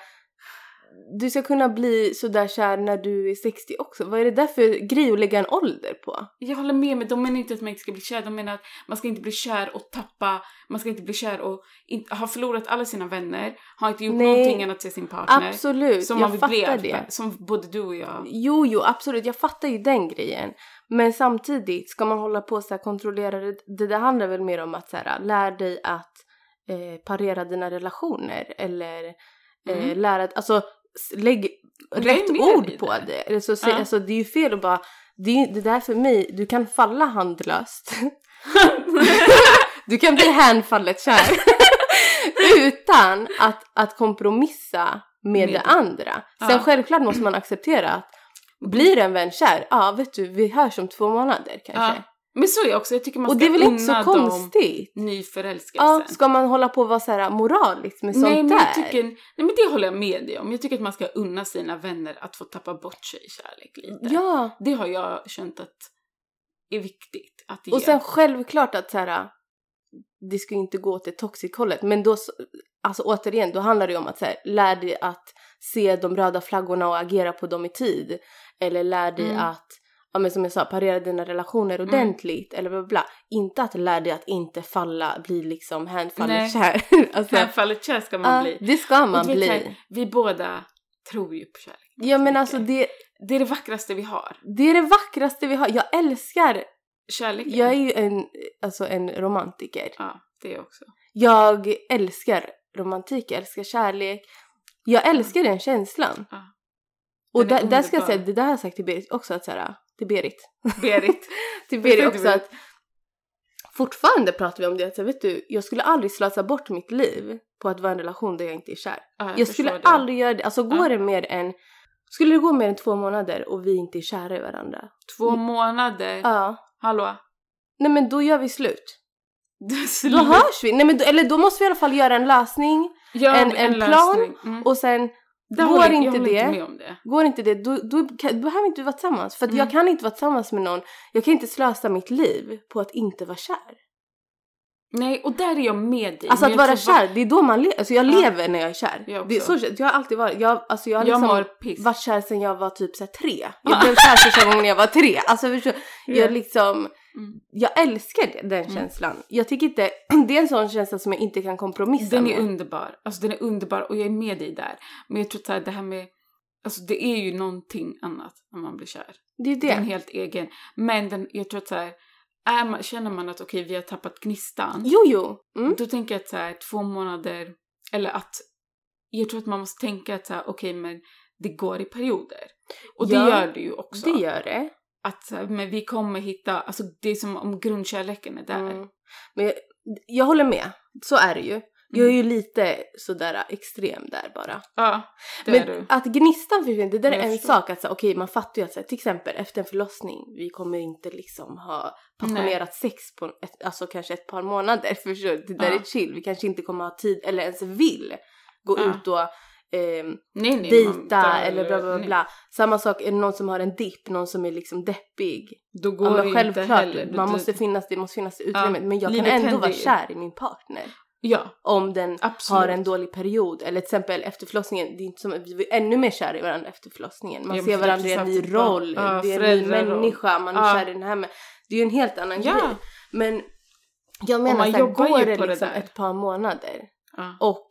B: Du ska kunna bli sådär kär när du är 60 också. Vad är det där för grej att lägga en ålder på?
A: Jag håller med, men de menar inte att man inte ska bli kär. De menar att man ska inte bli kär och tappa, man ska inte bli kär och inte, ha förlorat alla sina vänner, har inte gjort
B: Nej.
A: någonting annat till sin partner.
B: Absolut,
A: Som man
B: jag
A: vill
B: fattar
A: bli,
B: det.
A: Som både du och jag.
B: Jo, jo, absolut. Jag fattar ju den grejen. Men samtidigt, ska man hålla på så här kontrollera det? Det där handlar väl mer om att så här, lär dig att eh, parera dina relationer eller eh,
A: Mm.
B: lära alltså s- lägg
A: är
B: rätt
A: mer i
B: ord på
A: det.
B: det. Eller Så, se,
A: Ja.
B: alltså, det är ju fel att bara, det, är, ju- det där för mig, du kan falla handlöst. du kan bli hänfallet kär. Utan att, att kompromissa med
A: Med
B: det
A: det.
B: andra. Sen
A: Ja.
B: självklart måste man acceptera att blir en vän kär, ja vet du, vi hörs om två månader kanske.
A: Men så är jag också, jag tycker man ska
B: och det är väl inte så
A: unna
B: konstigt?
A: dem nyförälskelsen.
B: Ja, ska man hålla på och vara så här moraliskt med sånt
A: nej, men
B: där?
A: jag tycker, nej men det håller jag med dig om. Jag tycker att man ska unna sina vänner att få tappa bort sig i kärlek lite.
B: Ja,
A: Det har jag känt att är viktigt att ge.
B: och sen självklart att så här, det ska ju inte gå till toxic-hållet, men då, så- alltså återigen, då handlar det ju om att så här, lär dig att se de röda flaggorna och agera på dem i tid. Eller lär dig
A: Mm.
B: att, ja men som jag sa, parera dina relationer ordentligt eller bla bla bla. Inte att lär dig att inte falla, bli liksom
A: Nej.
B: hänfallet kär. alltså,
A: Hänfallet kär ska man
B: ja,
A: bli.
B: det ska
A: Och
B: man
A: du vet så
B: bli.
A: här, Vi båda tror ju på kärlek.
B: Ja men
A: mycket.
B: alltså det,
A: Det är det vackraste vi har.
B: det är det vackraste vi har. Jag älskar,
A: Kärleken.
B: jag är ju en, alltså en romantiker.
A: Ja, det är jag också.
B: Jag älskar romantik, jag älskar kärlek. Jag älskar den känslan.
A: Ja.
B: Och
A: Den är
B: där, där ska jag
A: underbar.
B: säga, det där har jag sagt till Berit också att såhär, till Berit.
A: Berit.
B: Till
A: Vad
B: Berit
A: sa du,
B: också
A: Berit?
B: att fortfarande pratar vi om det att så här, vet du, jag skulle aldrig slösa bort mitt liv på att vara i en relation där jag inte är kär.
A: Ja,
B: Jag,
A: förstår
B: skulle
A: det.
B: aldrig göra det. Alltså går
A: Ja.
B: det mer än, skulle det gå mer än två månader och vi inte är kära i varandra?
A: Två månader.
B: Ja.
A: Hallå?
B: Nej men då gör vi slut.
A: Du
B: Då hörs vi. Nej men då, eller då måste vi i alla fall göra en lösning
A: Gör
B: en- en plan
A: lösning. Mm.
B: och sen
A: Där
B: går
A: håller jag-
B: inte
A: jag håller
B: det.
A: Inte med om det.
B: Går inte det, då, då, kan, då behöver inte vi vara tillsammans. För att
A: Mm.
B: jag kan inte vara tillsammans med någon. Jag kan inte slösa mitt liv på att inte vara kär.
A: Nej, och där är jag med dig.
B: Alltså
A: men
B: att
A: jag
B: vara
A: tror
B: kär, det är då man lever. Alltså jag
A: Ja.
B: lever när jag är kär.
A: Jag
B: det är så,
A: också.
B: jag har alltid varit, jag, alltså jag har
A: Jag,
B: liksom
A: mår piss.
B: varit kär sedan jag var typ såhär tre. Jag blev kär första gången jag var tre. Alltså förstår,
A: Ja.
B: jag liksom,
A: Mm.
B: jag älskar det, den
A: Mm.
B: känslan. Jag tycker inte, det är en sån känsla som jag inte kan kompromissa
A: Den
B: med.
A: är underbar. Alltså den är underbar och jag är med dig där. Men jag tror att det här med... Alltså det är ju någonting annat när man blir kär.
B: det är ju
A: Den är
B: det.
A: helt egen. Men den, jag tror att så här, är man, känner man att okej, vi har tappat gnistan.
B: Jo, jo. Mm.
A: Då tänker jag att så här, två månader, eller att... Jag tror att man måste tänka att så här, okej, men det går i perioder. Och
B: Ja,
A: det gör det ju också.
B: Det gör det.
A: Att så här, men vi kommer hitta, alltså det är som om grundkärleken är där.
B: Mm. Men jag, jag håller med, så är det ju. Jag är ju lite sådär extrem där bara.
A: Ja, det är
B: Men
A: du.
B: att gnistan försvinner, det där är
A: Jag
B: en
A: förstår.
B: sak. Att, så här, okej, man fattar ju att så här, till exempel efter en förlossning, vi kommer ju inte liksom ha passionerat sex på ett, alltså kanske ett par månader. Förstår du? Det där
A: Ja.
B: är chill. Vi kanske inte kommer ha tid eller ens vill gå
A: Ja.
B: ut och ehm,
A: Nej, nej, man
B: dejta
A: dör
B: eller bla bla
A: nej.
B: bla. Samma sak, är det någon som har en dipp, någon som är liksom deppig.
A: Då går
B: Ja,
A: det
B: men
A: inte
B: självklart,
A: heller. Du-
B: man
A: du-
B: måste finnas, det måste finnas utrymme. Men jag kan
A: livet
B: ändå
A: händer
B: vara
A: ju.
B: kär i min partner
A: Ja,
B: om den
A: absolut.
B: har en dålig period. Eller till exempel efter förlossningen, det är inte som, vi är ännu mer kära i varandra efter förlossningen. Man
A: Ja, men
B: ser
A: för det
B: varandra i
A: blir
B: en ny
A: samtidigt barn.
B: roll,
A: Ja,
B: det är en ny
A: föräldraroll.
B: människa, man
A: Ja.
B: är kär i den här med. Det är ju en helt annan
A: Ja.
B: grej. Men jag menar
A: man
B: såhär,
A: jobbar
B: går
A: ju
B: det
A: på det
B: liksom
A: där.
B: ett par månader
A: ja.
B: och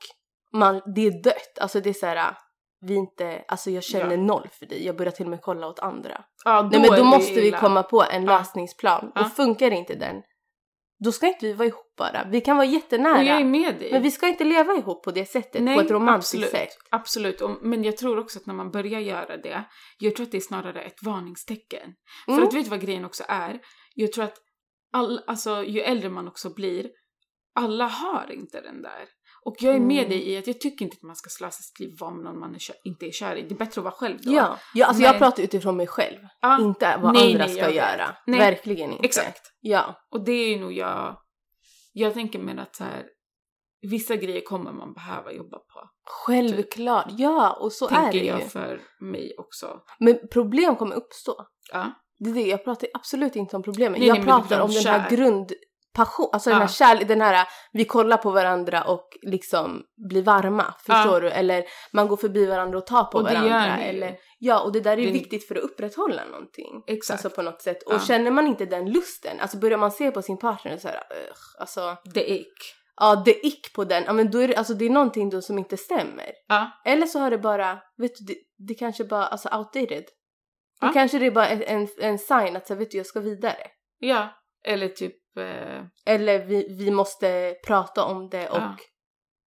B: man, det är dött, alltså det är såhär, vi är inte, alltså jag känner
A: Ja.
B: noll för dig, jag börjar till och med kolla åt andra.
A: ja
B: Nej men
A: är
B: då
A: det
B: måste vi
A: illa.
B: komma på en
A: Ja.
B: lösningsplan.
A: Ja.
B: Och funkar inte den, då ska inte vi vara ihop bara. Vi kan vara jättenära.
A: Och jag är med dig.
B: Men vi ska inte leva ihop på det sättet, på ett romantiskt
A: absolut,
B: sätt.
A: Absolut, och, men jag tror också att när man börjar göra det, jag tror att det är snarare ett varningstecken.
B: Mm.
A: För att vet du vad grejen också är? Jag tror att all, alltså, ju äldre man också blir, alla har inte den där. Och jag är med
B: Mm.
A: dig i att jag tycker inte att man ska slösa sitt liv om någon man är, kö- inte är kär i. Det är bättre att vara själv då.
B: Ja, ja alltså jag
A: Men-
B: pratar utifrån mig själv.
A: Ja,
B: Inte vad
A: Nej,
B: andra
A: nej, jag
B: ska
A: vet.
B: göra.
A: Nej.
B: Verkligen inte.
A: exakt.
B: Ja.
A: Och det är nog jag... Jag tänker mer att så här, vissa grejer kommer man behöva jobba på.
B: Självklart. Ja, och så är det
A: tänker
B: ju.
A: Typ. jag för mig också.
B: Men problem kommer uppstå.
A: Ja.
B: Det är det, jag pratar absolut inte om problemen.
A: Nej,
B: jag
A: nej, men du
B: pratar
A: blir
B: om den här
A: kär.
B: grundpassion, alltså den
A: Ja.
B: här kärlek, den här vi kollar på varandra och liksom blir varma, förstår du? Eller man går förbi varandra och tar på
A: Och det gör
B: varandra.
A: ni ju.
B: eller, alltså, ja, och det där är
A: Det-
B: ju viktigt för att upprätthålla någonting.
A: Exakt.
B: Alltså på något sätt. Och
A: Ja.
B: känner man inte den lusten, alltså börjar man se på sin partner och så här, "Ugh", alltså,
A: Det är ick.
B: ja det ick på den, ja men då är det, alltså det är någonting då som inte stämmer.
A: Ja.
B: Eller så har det bara, vet du, det, det kanske bara, alltså outdated. Då
A: Ja.
B: kanske det är bara en, en, en sign att så, här, vet du, jag ska vidare.
A: ja. Eller typ... Eh,
B: Eller vi, vi måste prata om det och
A: Ja.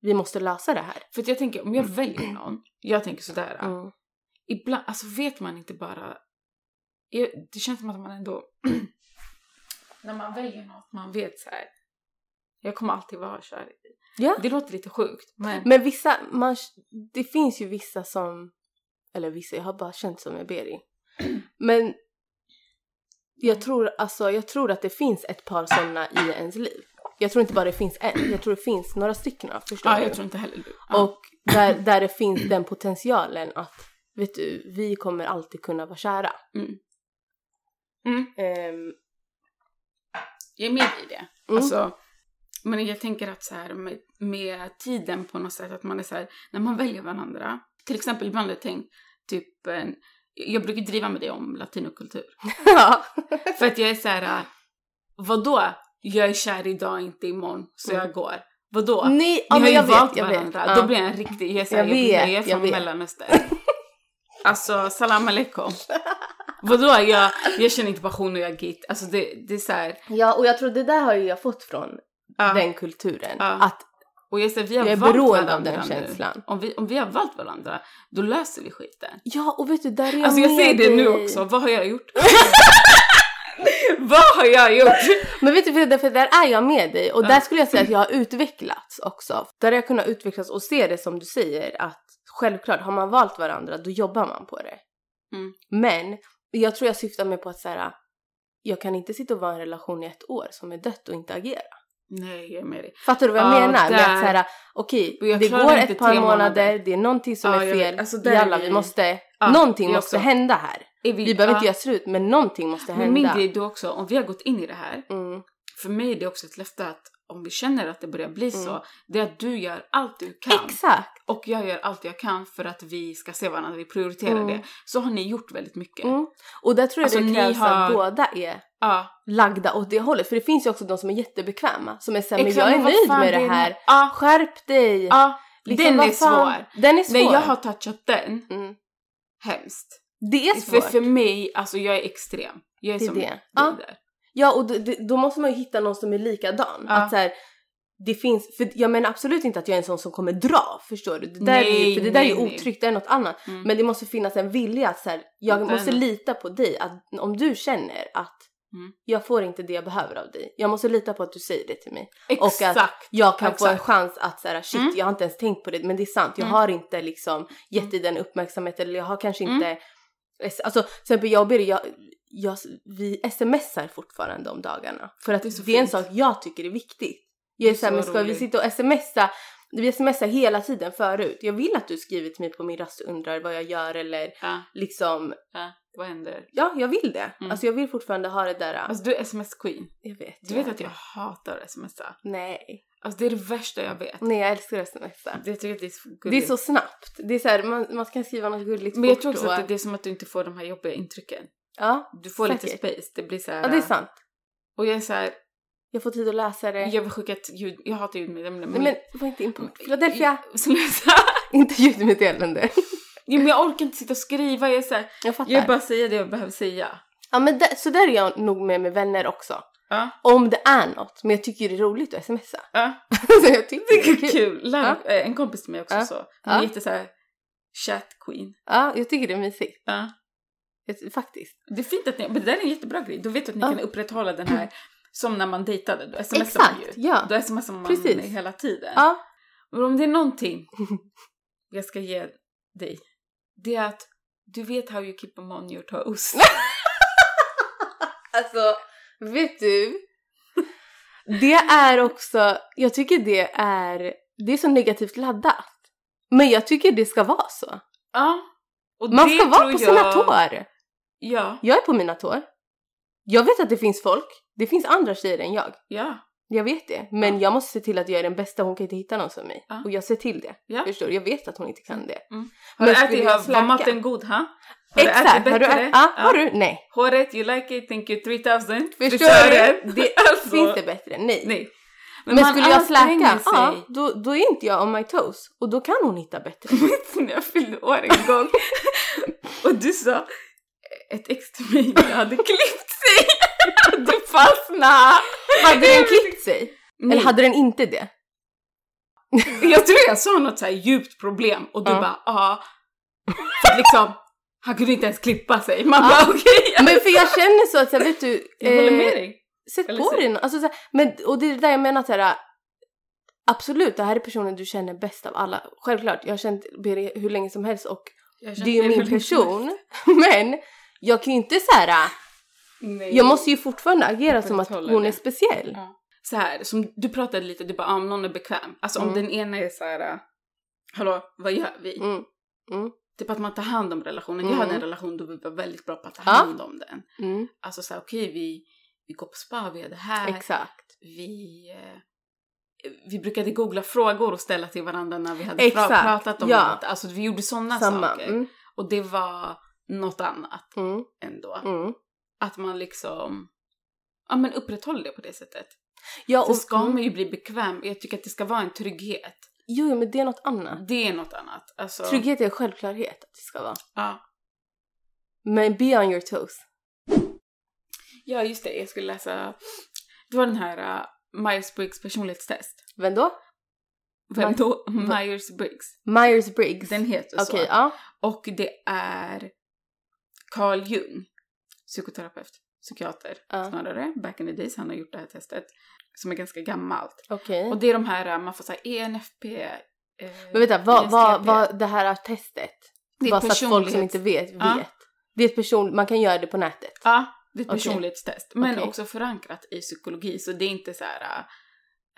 B: vi måste lösa det här.
A: för att jag tänker, om jag väljer någon, jag tänker sådär.
B: Mm.
A: Ibland, alltså vet man inte bara... Jag, det känns som att man ändå... när man väljer något, man vet så här. Jag kommer alltid vara kär i dig.
B: Ja.
A: Det låter lite sjukt, men...
B: Men vissa, man, det finns ju vissa som, eller vissa, jag har bara känt som jag ber i. Men jag tror, alltså, jag tror att det finns ett par sådana i ens liv. Jag tror inte bara det finns en, jag tror det finns några stycken. Förstår
A: ja,
B: du?
A: jag tror inte heller du. Ja.
B: Och där, där det finns den potentialen att vet du, vi kommer alltid kunna vara kära.
A: Mm. Mm.
B: Ehm,
A: Jag är med i det.
B: Mm.
A: Alltså, men jag tänker att så här, med, med tiden på något sätt, att man är så här, när man väljer varandra. Till exempel ibland har jag tänkt, typ, en, jag brukar driva med det om latinokultur.
B: ja.
A: För att jag är så här, vadå? Jag är kär idag, inte imorgon, så
B: Mm.
A: jag går. Vadå?
B: Nej, ja,
A: Vi har
B: men
A: ju
B: jag
A: valt
B: vet, jag vet.
A: varandra.
B: Ja.
A: Då blir jag en riktig... Jag är, så här,
B: Jag
A: jag blir-
B: vet,
A: jag är
B: jag
A: från
B: vet.
A: Mellanöstern. Alltså, salam aleikum. Vadå? Jag, jag känner inte passion och jag är git. Alltså det, det är så här...
B: Ja, och jag tror det där har ju jag fått från
A: ja.
B: den kulturen.
A: Ja.
B: Att
A: Och jag säger, vi har
B: jag är
A: valt
B: beroende
A: varandra
B: av den
A: nu.
B: känslan.
A: Om vi, om vi har valt varandra, då löser vi skiten.
B: Ja, och vet du, där är jag
A: alltså jag
B: med
A: säger det
B: dig.
A: nu också, vad har jag gjort? vad har jag gjort?
B: Men vet du, för, för där är jag med dig. Och
A: Ja.
B: där skulle jag säga att jag har utvecklats också. Där har jag kunnat utvecklas och se det som du säger att självklart, har man valt varandra då jobbar man på det.
A: Mm.
B: Men jag tror jag syftar mig på att så här, jag kan inte sitta och vara i en relation i ett år som är dött och inte agera.
A: Nej, jag är med dig.
B: Fattar du vad jag
A: Ja,
B: menar? Med
A: där.
B: att så här, okej,
A: Och jag
B: det
A: klarar
B: går
A: inte
B: ett par
A: tre
B: månader,
A: månader.
B: det är någonting som
A: Ja,
B: är
A: jag vet.
B: fel.
A: Alltså, där är
B: Jalla,
A: vi-
B: vi måste,
A: Ja,
B: någonting
A: jag
B: måste
A: också.
B: hända här.
A: Är
B: Vi behöver
A: ja.
B: inte göra slut, men någonting måste hända.
A: Men min grej då också, om vi har gått in i det här,
B: mm.
A: för mig är det också ett löfte att om vi känner att det börjar bli
B: Mm.
A: så, det är att du gör allt du kan
B: Exakt!
A: och jag gör allt jag kan för att vi ska se varandra, vi prioriterar
B: Mm.
A: det. Så har ni gjort väldigt mycket.
B: Mm. Och där tror jag
A: Alltså,
B: det
A: ni
B: krävs att
A: har-
B: båda är
A: Ja,
B: lagda åt det hållet. För det finns ju också de som är jättebekväma. Som är såhär, men
A: Exakt,
B: jag är
A: men vad
B: nöjd
A: fan,
B: med
A: det
B: det
A: är-
B: här.
A: Ja,
B: Skärp dig! Liksom,
A: ja. den
B: vad
A: är
B: fan-
A: svår.
B: Den är svår.
A: När jag har touchat den,
B: Mm.
A: hemskt.
B: Det är
A: För,
B: svårt.
A: för mig, alltså jag är extrem. Jag är
B: Det är
A: som
B: det.
A: dig
B: Ja.
A: där.
B: Ja, och d- d- då måste man ju hitta någon som är likadan.
A: Ja.
B: Att så här, det finns, för jag menar absolut inte att jag är en sån som kommer dra, förstår du? Det där är
A: Nej,
B: ju, för det där är ju
A: nej, nej.
B: otryggt, det är något annat.
A: Mm.
B: Men det måste finnas en vilja att så här, jag
A: Den-
B: måste lita på dig, att om du känner att
A: Mm.
B: Jag får inte det jag behöver av dig. Jag måste lita på att du säger det till mig.
A: Exakt.
B: Och att jag kan få en
A: Exakt.
B: chans att säga shit,
A: Mm.
B: jag har inte ens tänkt på det, men det är sant. Jag
A: Mm.
B: har inte liksom gett dig den uppmärksamheten eller jag har kanske inte... Alltså till exempel jag och Birger, jag, jag, vi smsar fortfarande om dagarna. För att
A: Det
B: det
A: är så
B: är, en
A: fint.
B: sak jag tycker är viktigt. Jag är
A: Det är
B: såhär,
A: så
B: men ska vi
A: roligt.
B: sitta och smsa? Vi smsar hela tiden förut. Jag vill att du skriver till mig på min rast och undrar vad jag gör eller
A: ja,
B: liksom,
A: ja, vad händer?
B: ja jag vill det.
A: Mm.
B: Alltså jag vill fortfarande ha det där.
A: Alltså du är sms-queen.
B: jag vet.
A: Du vet att jag hatar smsa.
B: Nej.
A: Alltså det är det värsta jag vet.
B: Nej jag älskar att smsa.
A: Det, jag tycker att det är så
B: Det är
A: gulligt.
B: så snabbt. Det är så här, man, man kan skriva något gulligt
A: Men jag
B: fort
A: tror också
B: och-
A: att det är som att du inte får de här jobbiga intrycken.
B: Ja,
A: Du får lite
B: Säkert.
A: space. Det blir så här,
B: ja, det är sant.
A: Och jag är så här,
B: Jag får tid att läsa det.
A: jag vill skicka ett ljud, jag hatar ljudmeddelanden.
B: Nej men var inte import. Philadelphia!
A: Sluta!
B: inte ljudmeddelande.
A: Jo men jag orkar inte sitta och skriva, jag är så här,
B: Jag fattar.
A: jag vill bara säga det jag behöver säga.
B: Ja men där, så där är jag nog med med vänner också.
A: Ja,
B: Om det är något. Men jag tycker det är roligt att smsa.
A: ja.
B: så jag tycker
A: Det
B: det är
A: är
B: kul.
A: kul. Lär, eh, En kompis till mig också
B: Ja.
A: så. Hon är
B: Ja.
A: jätte så här, chat queen.
B: Ja, jag tycker det är mysigt.
A: Ja.
B: Jag ty- Faktiskt.
A: Det är fint att ni, men det där är en jättebra grej. Då vet du att ni
B: Ja.
A: kan upprätthålla den här, som när man dejtade, då smsar man
B: Exakt,
A: ju.
B: ja.
A: Då smsar man
B: Precis.
A: hela tiden.
B: Ja.
A: Men om det är någonting jag ska ge dig, det är att du vet how you keep a on your toes.
B: Alltså, vet du? Det är också, jag tycker det är, det är så negativt laddat. Men jag tycker det ska vara så.
A: ja. Och
B: Man
A: det
B: ska vara
A: tror
B: på sina
A: jag-
B: tår.
A: Ja,
B: Jag är på mina tår. Jag vet att det finns folk. Det finns andra tjejer än jag.
A: ja,
B: Jag vet det. Men
A: Ja.
B: jag måste se till att jag är den bästa. Hon kan inte hitta någon som mig.
A: Ja.
B: Och jag ser till det.
A: Ja.
B: Förstår du? Jag vet att hon inte kan det.
A: Mm. Har du
B: Men skulle
A: ätit,
B: jag
A: har, var
B: snacka?
A: maten god? Ha? Har
B: Exakt!
A: du
B: Har
A: ätit
B: du
A: bättre?
B: ätit? Ja, har
A: Ja.
B: du? Nej.
A: Håret, you like it, thank you 3000.
B: Förstår
A: Frisören.
B: du? Det
A: Alltså,
B: finns det bättre? Nej.
A: Nej.
B: Men, skulle jag
A: anstränger
B: släcka,
A: sig.
B: ja, då, då är inte jag on my toes. Och då kan hon hitta bättre.
A: Vet ni, jag fyllde år en gång och du sa ett ex till mig jag hade klippt sig. Du fastnade!
B: Hade den klippt sig?
A: Nej,
B: Eller hade den inte det?
A: Jag tror jag sa något så här djupt problem och du
B: Ja.
A: bara ja. För att liksom, han kunde inte ens klippa sig. Man
B: Ja.
A: bara okej.
B: Men för jag känner så att så här, vet du...
A: jag håller med
B: eh,
A: dig.
B: Sätt
A: Eller
B: på
A: så-
B: dig något. Alltså, så här, men, och det är det där jag menar att så här, absolut, det här är personen du känner bäst av alla. Självklart, jag har känt Birger hur länge som helst och
A: Jag
B: det är ju
A: känner-
B: min person. Men jag kan ju inte så här.
A: Nej.
B: jag måste ju fortfarande agera som att
A: Upprätthålla
B: hon
A: det.
B: är speciell.
A: Ja. så här, som du pratade lite, du bara ah, om någon är bekväm. Alltså om
B: Mm.
A: den ena är så här, "Ah, hallå vad gör vi?
B: Mm.
A: Typ att man tar hand om relationen. Jag
B: Mm.
A: hade en relation då vi var väldigt bra på att ta
B: Ja.
A: hand om den.
B: Mm.
A: Alltså såhär okej vi, vi går på spa, vi gör det här.
B: Exakt.
A: Vi, eh, vi brukade googla frågor och ställa till varandra när vi hade pra-
B: Exakt,
A: pratat om
B: ja.
A: något. Alltså vi gjorde sådana
B: Samma.
A: saker.
B: Mm.
A: Och det var något annat
B: Mm.
A: ändå.
B: Mm.
A: Att man liksom ja, men upprätthåller det på det sättet.
B: Ja,
A: Sen ska
B: mm.
A: man ju bli bekväm. Jag tycker att det ska vara en trygghet.
B: Jo, jo, men det är något annat.
A: Det är något annat. Alltså,
B: Trygghet är en självklarhet att det ska vara.
A: Ja.
B: Men be on your toes.
A: ja, just det. Jag skulle läsa... Det var den här uh, Myers-Briggs personlighetstest.
B: Vem då?
A: Vem
B: My-
A: då? Myers-Briggs.
B: Myers-Briggs.
A: Den heter
B: Okej,
A: så.
B: ja.
A: Och det är Carl Jung, psykoterapeut, psykiater
B: Ja.
A: snarare, back in the days, han har gjort det här testet som är ganska gammalt.
B: Okej.
A: Och det är de här, äh, E man får säga ENFP, eh,
B: Men vänta, vad, vad,
A: ISTP.
B: vad det här testet?
A: Det är
B: bara så att folk som
A: personlighets-
B: inte vet, vet.
A: Ja.
B: Det är ett person, man kan göra det på nätet.
A: Ja, det är ett
B: Okej.
A: personlighetstest, men
B: Okej.
A: också förankrat i psykologi, så det är inte så här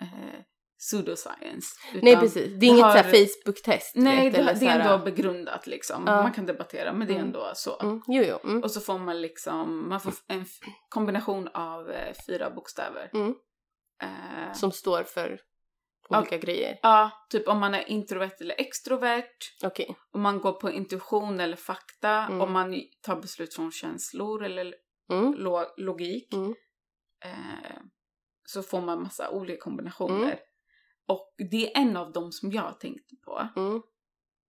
A: eh, pseudoscience.
B: Nej
A: utan-
B: prelet. Det är inget
A: har-
B: så här Facebook-test. du
A: Nej,
B: vet,
A: det,
B: eller
A: det
B: så
A: är
B: här-
A: ändå begrundat liksom.
B: Ja.
A: Man kan debattera, men det är
B: Mm.
A: ändå så.
B: Mm, jo, jo. Mm.
A: Och så får man liksom, man får en f- kombination av eh, fyra bokstäver.
B: Mm.
A: Eh,
B: Som står för
A: Ja.
B: olika grejer.
A: ja, typ om man är introvert eller extrovert,
B: Okej.
A: om man går på intuition eller fakta,
B: Mm.
A: om man tar beslut från känslor eller
B: Mm.
A: lo- logik.
B: Mm.
A: Eh, så får man massa olika kombinationer.
B: Mm.
A: Och det är en av dem som jag tänkte på,
B: Mm.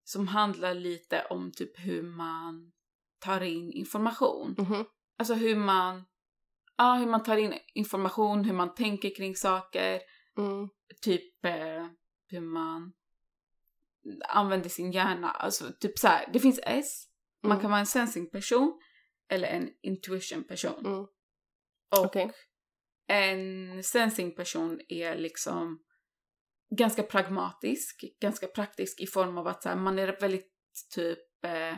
A: som handlar lite om typ hur man tar in information.
B: mhm.
A: alltså hur man, ja, hur man tar in information, hur man tänker kring saker,
B: Mm.
A: typ eh, hur man använder sin hjärna. Alltså typ så här, det finns S, man
B: Mm.
A: kan vara en sensing person eller en intuition person.
B: Mm.
A: Och
B: Okej.
A: en sensing-person är liksom ganska pragmatisk, ganska praktisk i form av att så här, man är väldigt typ... Eh,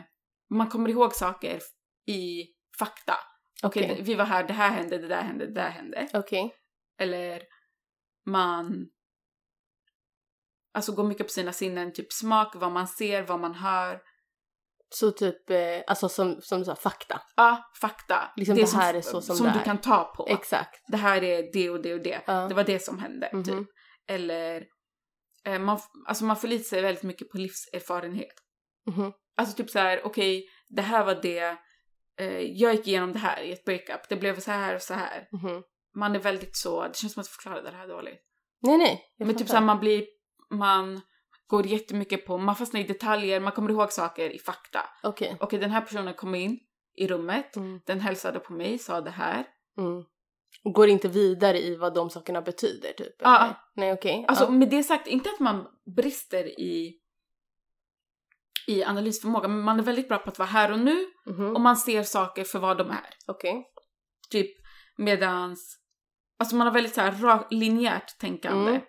A: man kommer ihåg saker i fakta. Okej,
B: Okej.
A: vi var här, det här hände, det där hände, det där hände.
B: Okej.
A: Eller man alltså går mycket på sina sinnen, typ smak, vad man ser, vad man hör.
B: Så typ, eh, alltså som, som du sa, fakta.
A: Ja, fakta.
B: Liksom, det här är så som det
A: du
B: är.
A: kan ta på.
B: Exakt.
A: det här är det och det och det.
B: Ja.
A: Det var det som hände,
B: Mhm.
A: typ. Eller eh, man, f- alltså man förlitar sig väldigt mycket på livserfarenhet.
B: Mhm.
A: Alltså typ så här, okej, det här var det. Eh, jag gick igenom det här i ett breakup. Det blev så här och så här.
B: Mhm.
A: Man är väldigt så, det känns som att jag förklarade det här dåligt.
B: Nej, nej. jag
A: Men typ
B: fattar.
A: såhär, man blir, man går jättemycket på, man fastnar i detaljer, man kommer ihåg saker i fakta.
B: Okej.
A: Okej, den här personen kom in i rummet,
B: Mm.
A: den hälsade på mig, sa det här.
B: Mm. Och går inte vidare i vad de sakerna betyder typ?
A: Ja.
B: eller? Nej, okej.
A: Alltså
B: ja.
A: med det sagt, inte att man brister i, i analysförmåga, men man är väldigt bra på att vara här och nu
B: Mhm.
A: och man ser saker för vad de är.
B: Okej.
A: Typ medans, alltså man har väldigt såhär ra- linjärt tänkande.
B: Mm.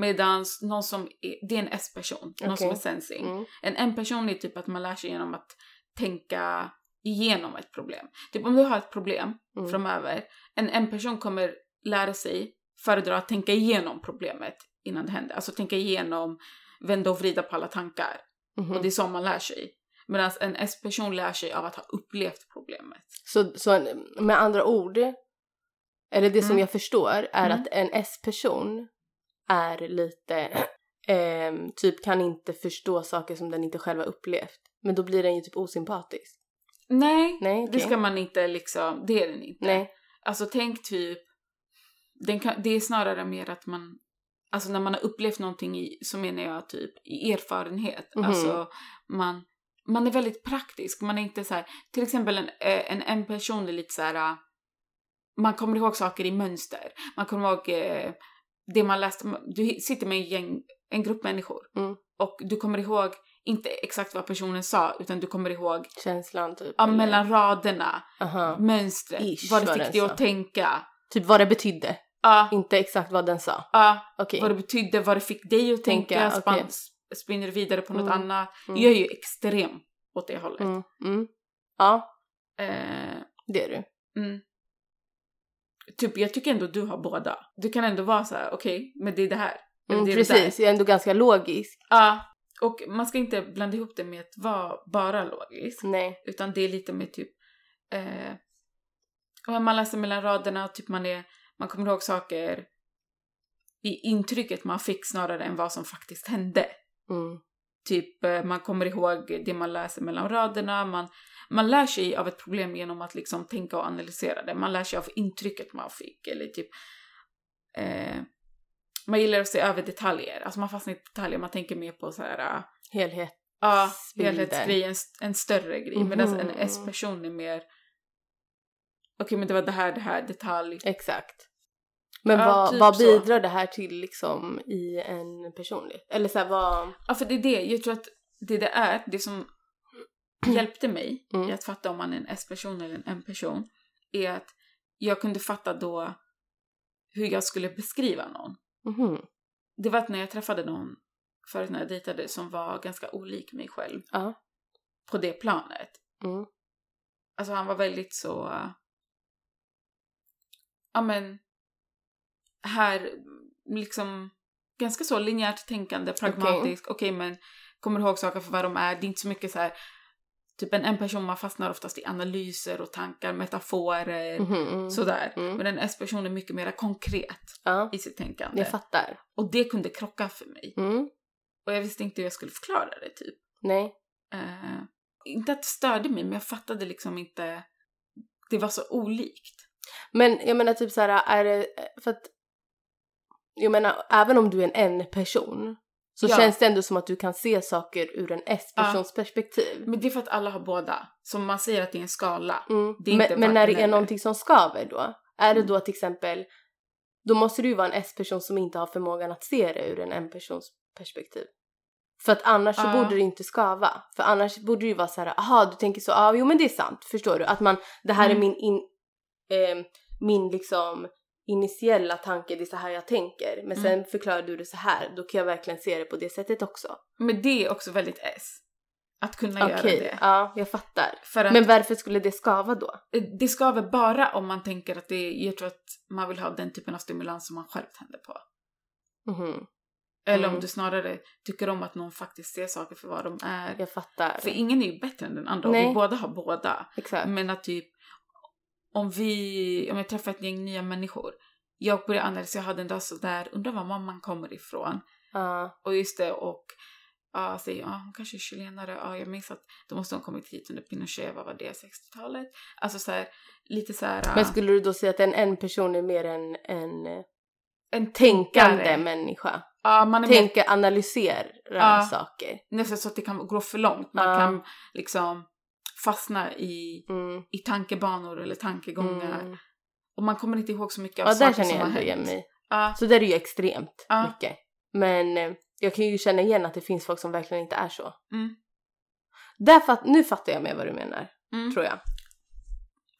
A: Medans någon som, är, det är en S-person, någon som är
B: Okej.
A: sensing.
B: Mm.
A: En en-person är typ att man lär sig genom att tänka igenom ett problem. Typ om du har ett problem
B: Mm.
A: framöver, en en-person kommer lära sig föredra att tänka igenom problemet innan det händer. Alltså tänka igenom, vända och vrida på alla tankar.
B: Mhm.
A: Och det är så man lär sig. Medan en S-person lär sig av att ha upplevt problemet.
B: Så, så en- med andra ord, eller det som
A: Mm.
B: jag förstår är
A: Mm.
B: att en S-person är lite, ehm, typ kan inte förstå saker som den inte själv har upplevt. Men då blir den ju typ osympatisk.
A: Nej,
B: Nej, okej.
A: det ska man inte liksom, det är den inte.
B: Nej.
A: Alltså tänk typ, den kan, det är snarare mer att man, alltså när man har upplevt någonting i, så menar jag typ i erfarenhet.
B: Mhm.
A: Alltså man, man är väldigt praktisk, man är inte så här, till exempel en, eh, en, en person är lite så här, eh, man kommer ihåg saker i mönster, man kommer ihåg eh, det man läste, du hi- sitter med en, gäng, en grupp människor
B: Mm.
A: och du kommer ihåg inte exakt vad personen sa utan du kommer ihåg
B: Känslan typ.
A: ja,
B: eller-
A: mellan raderna,
B: Aha.
A: mönstret,
B: Ish,
A: vad det
B: vad
A: fick
B: den
A: dig
B: sa.
A: att tänka.
B: Typ vad det betydde,
A: Ja,
B: inte exakt vad den sa.
A: ja.
B: Okej.
A: Vad det betydde, vad det fick dig att tänka,
B: Tänka,
A: span,
B: okej.
A: sp- spinner vidare på något
B: Mm,
A: annat.
B: mm.
A: Jag är ju extrem åt det hållet.
B: Mm. Mm. Ja,
A: Eh,
B: det är du.
A: mm. Typ, jag tycker ändå du har båda. Du kan ändå vara så här: okej, men det är det här. eller
B: Mm,
A: det är det där.
B: precis, jag är ändå ganska logisk.
A: Ja. Och man ska inte blanda ihop det med att vara bara logisk.
B: Nej.
A: Utan det är lite mer typ... Eh, och man läser mellan raderna och typ man, är, man kommer ihåg saker i intrycket man fick snarare än vad som faktiskt hände.
B: Mm.
A: Typ eh, man kommer ihåg det man läser mellan raderna. Man, man lär sig av ett problem genom att liksom tänka och analysera det. Man lär sig av intrycket man fick. Eller typ, eh, man gillar att se över detaljer. Alltså man fastnar inte i detaljer. Man tänker mer på så här... eh,
B: Helhet.
A: Ja,
B: bilder.
A: helhetsgrej, en, st- en större grej. Medan en
B: Mhm.
A: S-person är mer... Okej, men det var det här, det här, detalj.
B: Exakt. Men
A: Ja,
B: vad,
A: typ
B: vad
A: så.
B: bidrar det här till liksom i en personlighet? Eller så här, vad...
A: Ja, för det är det. Jag tror att det det är, det som hjälpte mig
B: Mm.
A: i att fatta om man är en S-person eller en M-person, är att jag kunde fatta då hur jag skulle beskriva någon.
B: Mhm.
A: Det var att när jag träffade någon förut när jag dejtade som var ganska olik mig själv
B: Ja.
A: på det planet.
B: Mm.
A: Alltså han var väldigt så... eh, Ja men... Här, mm, liksom... Ganska så linjärt tänkande, pragmatisk. Okej men kommer ihåg saker för vad de är. Det är inte så mycket så här... Typ en, en person man fastnar oftast i analyser och tankar, metaforer,
B: Mhm, mm.
A: sådär.
B: Mm.
A: Men en S-person är mycket mer konkret
B: Ja,
A: i sitt tänkande.
B: jag fattar.
A: Och det kunde krocka för mig.
B: Mm.
A: Och jag visste inte hur jag skulle förklara det typ.
B: Nej.
A: Eh, inte att det störde mig, men jag fattade liksom inte... Det var så olikt.
B: Men jag menar typ så här, är det... För att... Jag menar, även om du är en N-person så
A: Ja.
B: känns det ändå som att du kan se saker ur en S-persons perspektiv.
A: Men det är för att alla har båda. Som man säger att det är en skala.
B: Mm.
A: Det är inte
B: men, men när det
A: varken
B: är
A: eller.
B: någonting som skaver då? Är det
A: Mm.
B: då till exempel... Då måste du ju vara en S-person som inte har förmågan att se det ur en N-persons perspektiv. För att annars så
A: Ja.
B: borde det inte skava. För annars borde det ju vara så här, aha du tänker så, ja ah, jo men det är sant, förstår du? Att man, det här
A: Mm.
B: är min in, ehm, min liksom initiella tanke, det är så här jag tänker.
A: Mm.
B: Men sen förklarar du det så här, då kan jag verkligen se det på det sättet också.
A: Men det är också väldigt S. Att kunna göra
B: Okej,
A: det.
B: ja jag fattar.
A: För att eh,
B: Men varför skulle det skava då?
A: det skaver bara om man tänker att det är, jag tror att man vill ha den typen av stimulans som man själv tänder på.
B: Mhm,
A: Eller om
B: Mm.
A: du snarare tycker om att någon faktiskt ser saker för vad de är.
B: Jag fattar.
A: För ingen är ju bättre än den andra och
B: Nej.
A: vi båda har båda.
B: Exakt.
A: Men att typ om vi, om jag träffar ett gäng nya människor. Jag börjar analysera, jag hade en dag sådär, undrar var mamman kommer ifrån.
B: Ja,
A: Och just det och ja, säger ja, hon kanske är chilenare, ja, jag minns att då måste hon kommit hit under Pinochet, vad var det, 60-talet? Alltså så här, lite så här.
B: Men skulle du då säga att en, en person är mer en, en eh,
A: en
B: tänkande människa?
A: Ja, man är mer,
B: Tänker, analyserar
A: Ja.
B: saker.
A: nästan så att det kan gå för långt. Man
B: Ja.
A: kan liksom fastna i,
B: Mm.
A: i tankebanor eller tankegångar.
B: Mm.
A: Och man kommer inte ihåg så mycket av
B: Ja, där
A: saker
B: känner
A: som
B: jag
A: har
B: ändå igen
A: hänt.
B: mig.
A: Ja,
B: Så där är det ju extremt
A: Ja.
B: mycket. Men eh, jag kan ju känna igen att det finns folk som verkligen inte är så.
A: Mm.
B: Där fatt, nu fattar jag mer vad du menar,
A: mm.
B: tror jag.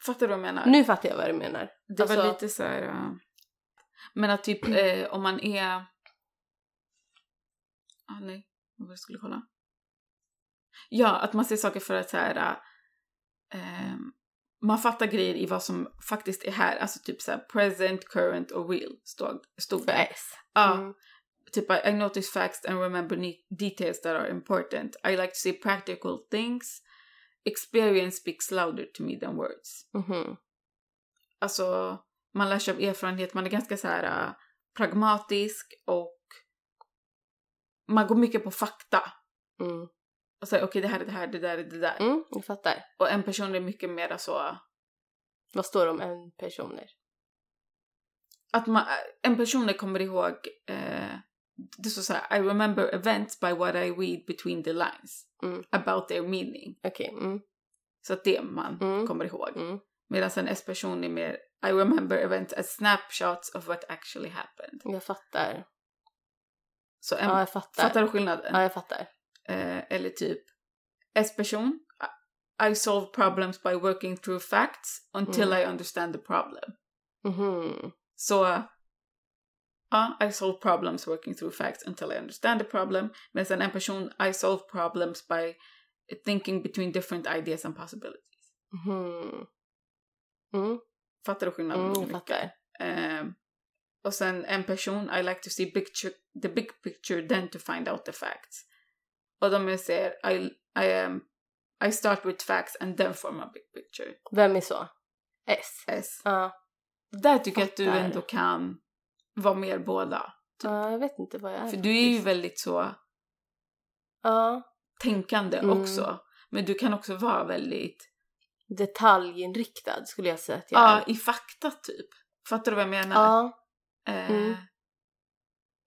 A: Fattar du vad jag menar?
B: Nu fattar jag vad du menar.
A: Det var
B: Alltså-
A: lite så här... ja. Men att typ eh, om man är... Ah, nej, vad var det jag skulle kolla? Ja, att man ser saker för att så här... eh, man fattar grejer i vad som faktiskt är här. Alltså typ så här present, current och real stod, stod
B: För
A: det.
B: S.
A: Ja,
B: Mm.
A: typ I notice facts and remember ne- details that are important. I like to see practical things. Experience speaks louder to me than words
B: Mhm.
A: alltså, man lär sig av erfarenhet, man är ganska så här äh, pragmatisk och man går mycket på fakta.
B: Mm.
A: Och säger okej det här är det här, det där är det där.
B: Mm, jag fattar.
A: Och en person är mycket mer alltså, så,
B: Vad står det om en personer?
A: att man, äh, en person kommer ihåg, eh, det står så här, I remember events by what I read between the lines
B: Mm.
A: about their meaning.
B: Okej. Mm.
A: Så att det är man
B: Mm.
A: kommer ihåg.
B: Mm.
A: Medan en S-person är mer, I remember events as snapshots of what actually happened.
B: Jag fattar.
A: Så en,
B: Ja, jag fattar.
A: fattar du skillnaden?
B: Ja, jag fattar.
A: Eh, eller typ S-person. I solve problems by working through facts until
B: Mm.
A: I understand the problem. Mm-hmm.
B: Mhm.
A: Så ja, I solve problems working through facts until I understand the problem. Men sen en person, I solve problems by thinking between different ideas and possibilities.
B: Mhm. Mm.
A: Mm-hmm. Fattar du skillnaden?
B: Mm, jag
A: Mycket.
B: fattar.
A: Ehm, och sen en person, I like to see big chi- the big picture then to find out the facts. Och de jag säger, I, I, am, I start with facts and then form a big picture.
B: Vem är så? S.
A: S.
B: Ja.
A: Där tycker jag att du
B: Fattar.
A: ändå kan vara mer båda.
B: Ja, jag vet inte vad jag är. typ.
A: För du är ju väldigt så
B: Ja.
A: tänkande
B: Mm.
A: också. Men du kan också vara väldigt,
B: Detaljinriktad skulle jag säga att jag
A: ja,
B: är.
A: i fakta typ. Fattar du vad jag menar?
B: Ja.
A: Eh,
B: mm.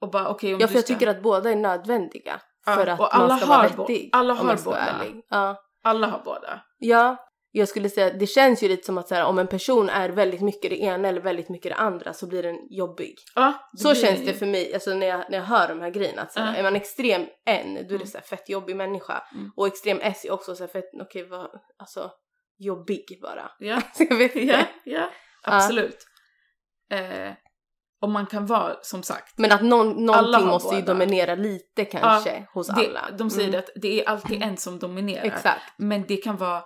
A: och bara okej om
B: Ja,
A: du
B: för jag
A: ska-
B: tycker att båda är nödvändiga.
A: Ja,
B: För att
A: och alla
B: man ska
A: har
B: vara
A: bo-
B: vettig.
A: alla
B: om
A: har
B: man ska vara
A: båda.
B: ärlig. Ja.
A: alla har båda.
B: ja, jag skulle säga att det känns ju lite som att så här, om en person är väldigt mycket det ena eller väldigt mycket det andra så blir den jobbig.
A: Ja,
B: Så
A: blir
B: känns
A: ju.
B: det för mig alltså, när, jag, när jag hör de här grejerna. Att, så här,
A: Ja.
B: Är man extrem N, då är det
A: Mm.
B: så här, fett jobbig människa.
A: Mm.
B: Och extrem S är också så här, fett, okej vad, alltså jobbig bara.
A: Ja.
B: Så jag vet inte.
A: Ja, ja. Absolut. Eh, och man kan vara, som sagt,
B: Men att någon, någonting
A: har
B: måste ju
A: båda.
B: dominera lite kanske hos alla.
A: det, de säger
B: Mm.
A: det att det är alltid en som dominerar.
B: Exakt,
A: Men det kan vara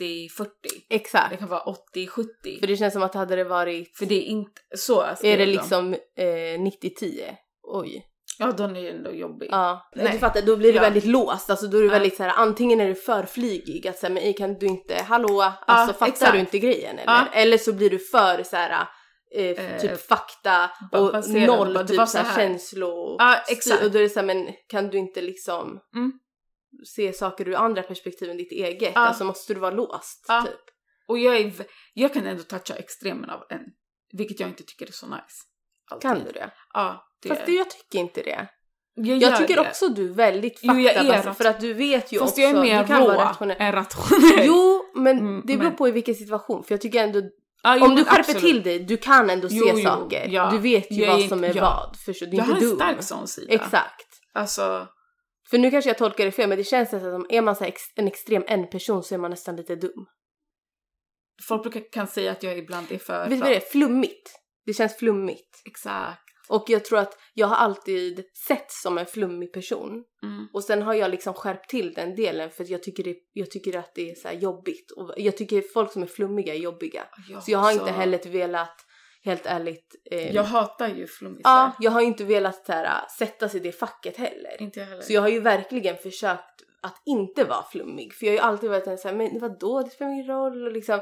A: 60-40.
B: exakt.
A: Det kan vara 80-70.
B: För
A: För,
B: det känns som att hade det varit...
A: det är inte så.
B: är
A: skrev
B: det
A: de.
B: liksom eh, 90-10? Oj.
A: Ja, då är det ändå jobbigt.
B: Ja.
A: Nej.
B: typ. Du fattar, då blir det
A: Ja.
B: väldigt låst. Alltså då är du
A: Ja.
B: väldigt så här, antingen är du för flygig, att säga men ey, kan du inte, hallå, alltså fattar
A: exakt.
B: du inte grejen eller?
A: Ja.
B: Eller så blir du för så här, eh,
A: Eh,
B: typ fakta
A: ba-
B: och
A: baserad,
B: noll
A: bara, det
B: typ
A: var
B: så
A: så
B: här,
A: här.
B: känslor.
A: Ja, exakt.
B: Och då är det så här, men kan du inte liksom
A: Mm.
B: se saker ur andra perspektiv än ditt eget?
A: Ja.
B: Alltså måste du vara låst?
A: Ja.
B: Typ.
A: Och jag, är, v- jag kan ändå toucha extremen av en. Vilket jag inte tycker är så nice. Alltid.
B: Kan du det?
A: Ja. Det,
B: Fast det, jag tycker inte det.
A: jag
B: Jag
A: gör
B: tycker
A: det.
B: också du är väldigt
A: Jo, jag är
B: faktabaserad
A: rat-
B: för att du vet ju
A: Fast
B: också.
A: jag är mer
B: du kan vara
A: rå
B: rationell.
A: än rationell.
B: Jo, men
A: Mm,
B: det beror
A: men-
B: på i vilken situation. För jag tycker ändå,
A: Ja, jo,
B: om du
A: men
B: skärper
A: absolut.
B: till dig, du kan ändå
A: Jo,
B: se
A: jo,
B: saker.
A: ja.
B: Du vet ju
A: Jag är
B: vad
A: inte-
B: som är
A: ja.
B: vad. Förstår du? Du
A: Jag
B: är
A: har
B: inte
A: en
B: dum.
A: stark sån sida.
B: Exakt.
A: Alltså,
B: För nu kanske jag tolkar det fel, men det känns nästan som, är man så här ex, en extrem en-person så är man nästan lite dum.
A: Folk brukar kan säga att jag ibland är för...
B: Vet du vad det är? Flummigt. Det känns flummigt.
A: Exakt.
B: Och jag tror att jag har alltid sett som en flummig person.
A: Mm.
B: Och sen har jag liksom skärpt till den delen för att jag tycker, det, jag tycker att det är så här jobbigt. Och jag tycker folk som är flummiga är jobbiga. Så jag har inte
A: också-
B: heller velat, helt ärligt... Eh,
A: Jag hatar ju flummisar.
B: ja, jag har inte velat så här, äh, sätta sig i det facket heller.
A: Inte jag heller.
B: Så jag har ju verkligen försökt att inte vara flummig. För jag har ju alltid varit en så här, men vadå, det spelar ingen roll och liksom,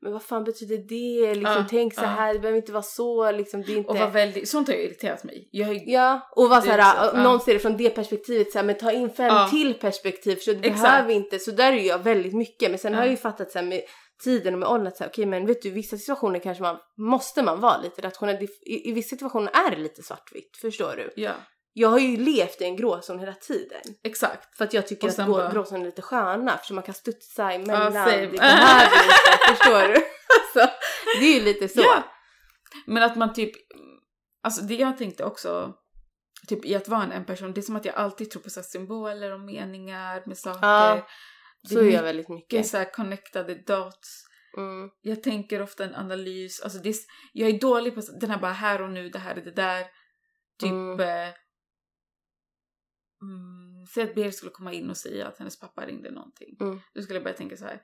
B: men vad fan betyder det? Liksom,
A: Ja,
B: tänk så
A: ja.
B: här, det behöver inte vara så, liksom, det är inte...
A: Och var väldigt, sånt har ju irriterat mig. Jag är,
B: Ja, och vara
A: Det
B: så
A: är
B: här,
A: också, ja.
B: någon ser det från det perspektivet så här, men ta in fem
A: Ja.
B: till perspektiv så det
A: Exakt.
B: behöver inte, så där är jag väldigt mycket. Men sen
A: Ja.
B: har jag ju fattat så här med tiden och med åldern att så här, okej men vet du vissa situationer kanske man, måste man vara lite rationell. Det- I, i vissa situationer är det lite svartvitt, förstår du?
A: ja,
B: Jag har ju levt i en gråzon hela tiden.
A: exakt.
B: För att jag tycker
A: Och
B: att
A: sen
B: grå,
A: bara-
B: gråzoner är lite sköna för man kan studsa emellan.
A: Ja,
B: det
A: same.
B: behöver inte, förstår du? Alltså, det är ju lite så.
A: Ja. Men att man typ, alltså det jag tänkte också, typ i att vara en person, det är som att jag alltid tror på så här symboler och meningar med saker.
B: Ja,
A: det
B: Så är jag
A: mycket
B: väldigt mycket.
A: så här connected dots.
B: Mm.
A: Jag tänker ofta en analys, alltså det är, s- jag är dålig på så- den här bara här och nu, det här är det där. Typ,
B: Mm.
A: eh, mm, säg att Berit skulle komma in och säga att hennes pappa ringde någonting.
B: Mm.
A: Då skulle jag börja tänka så här.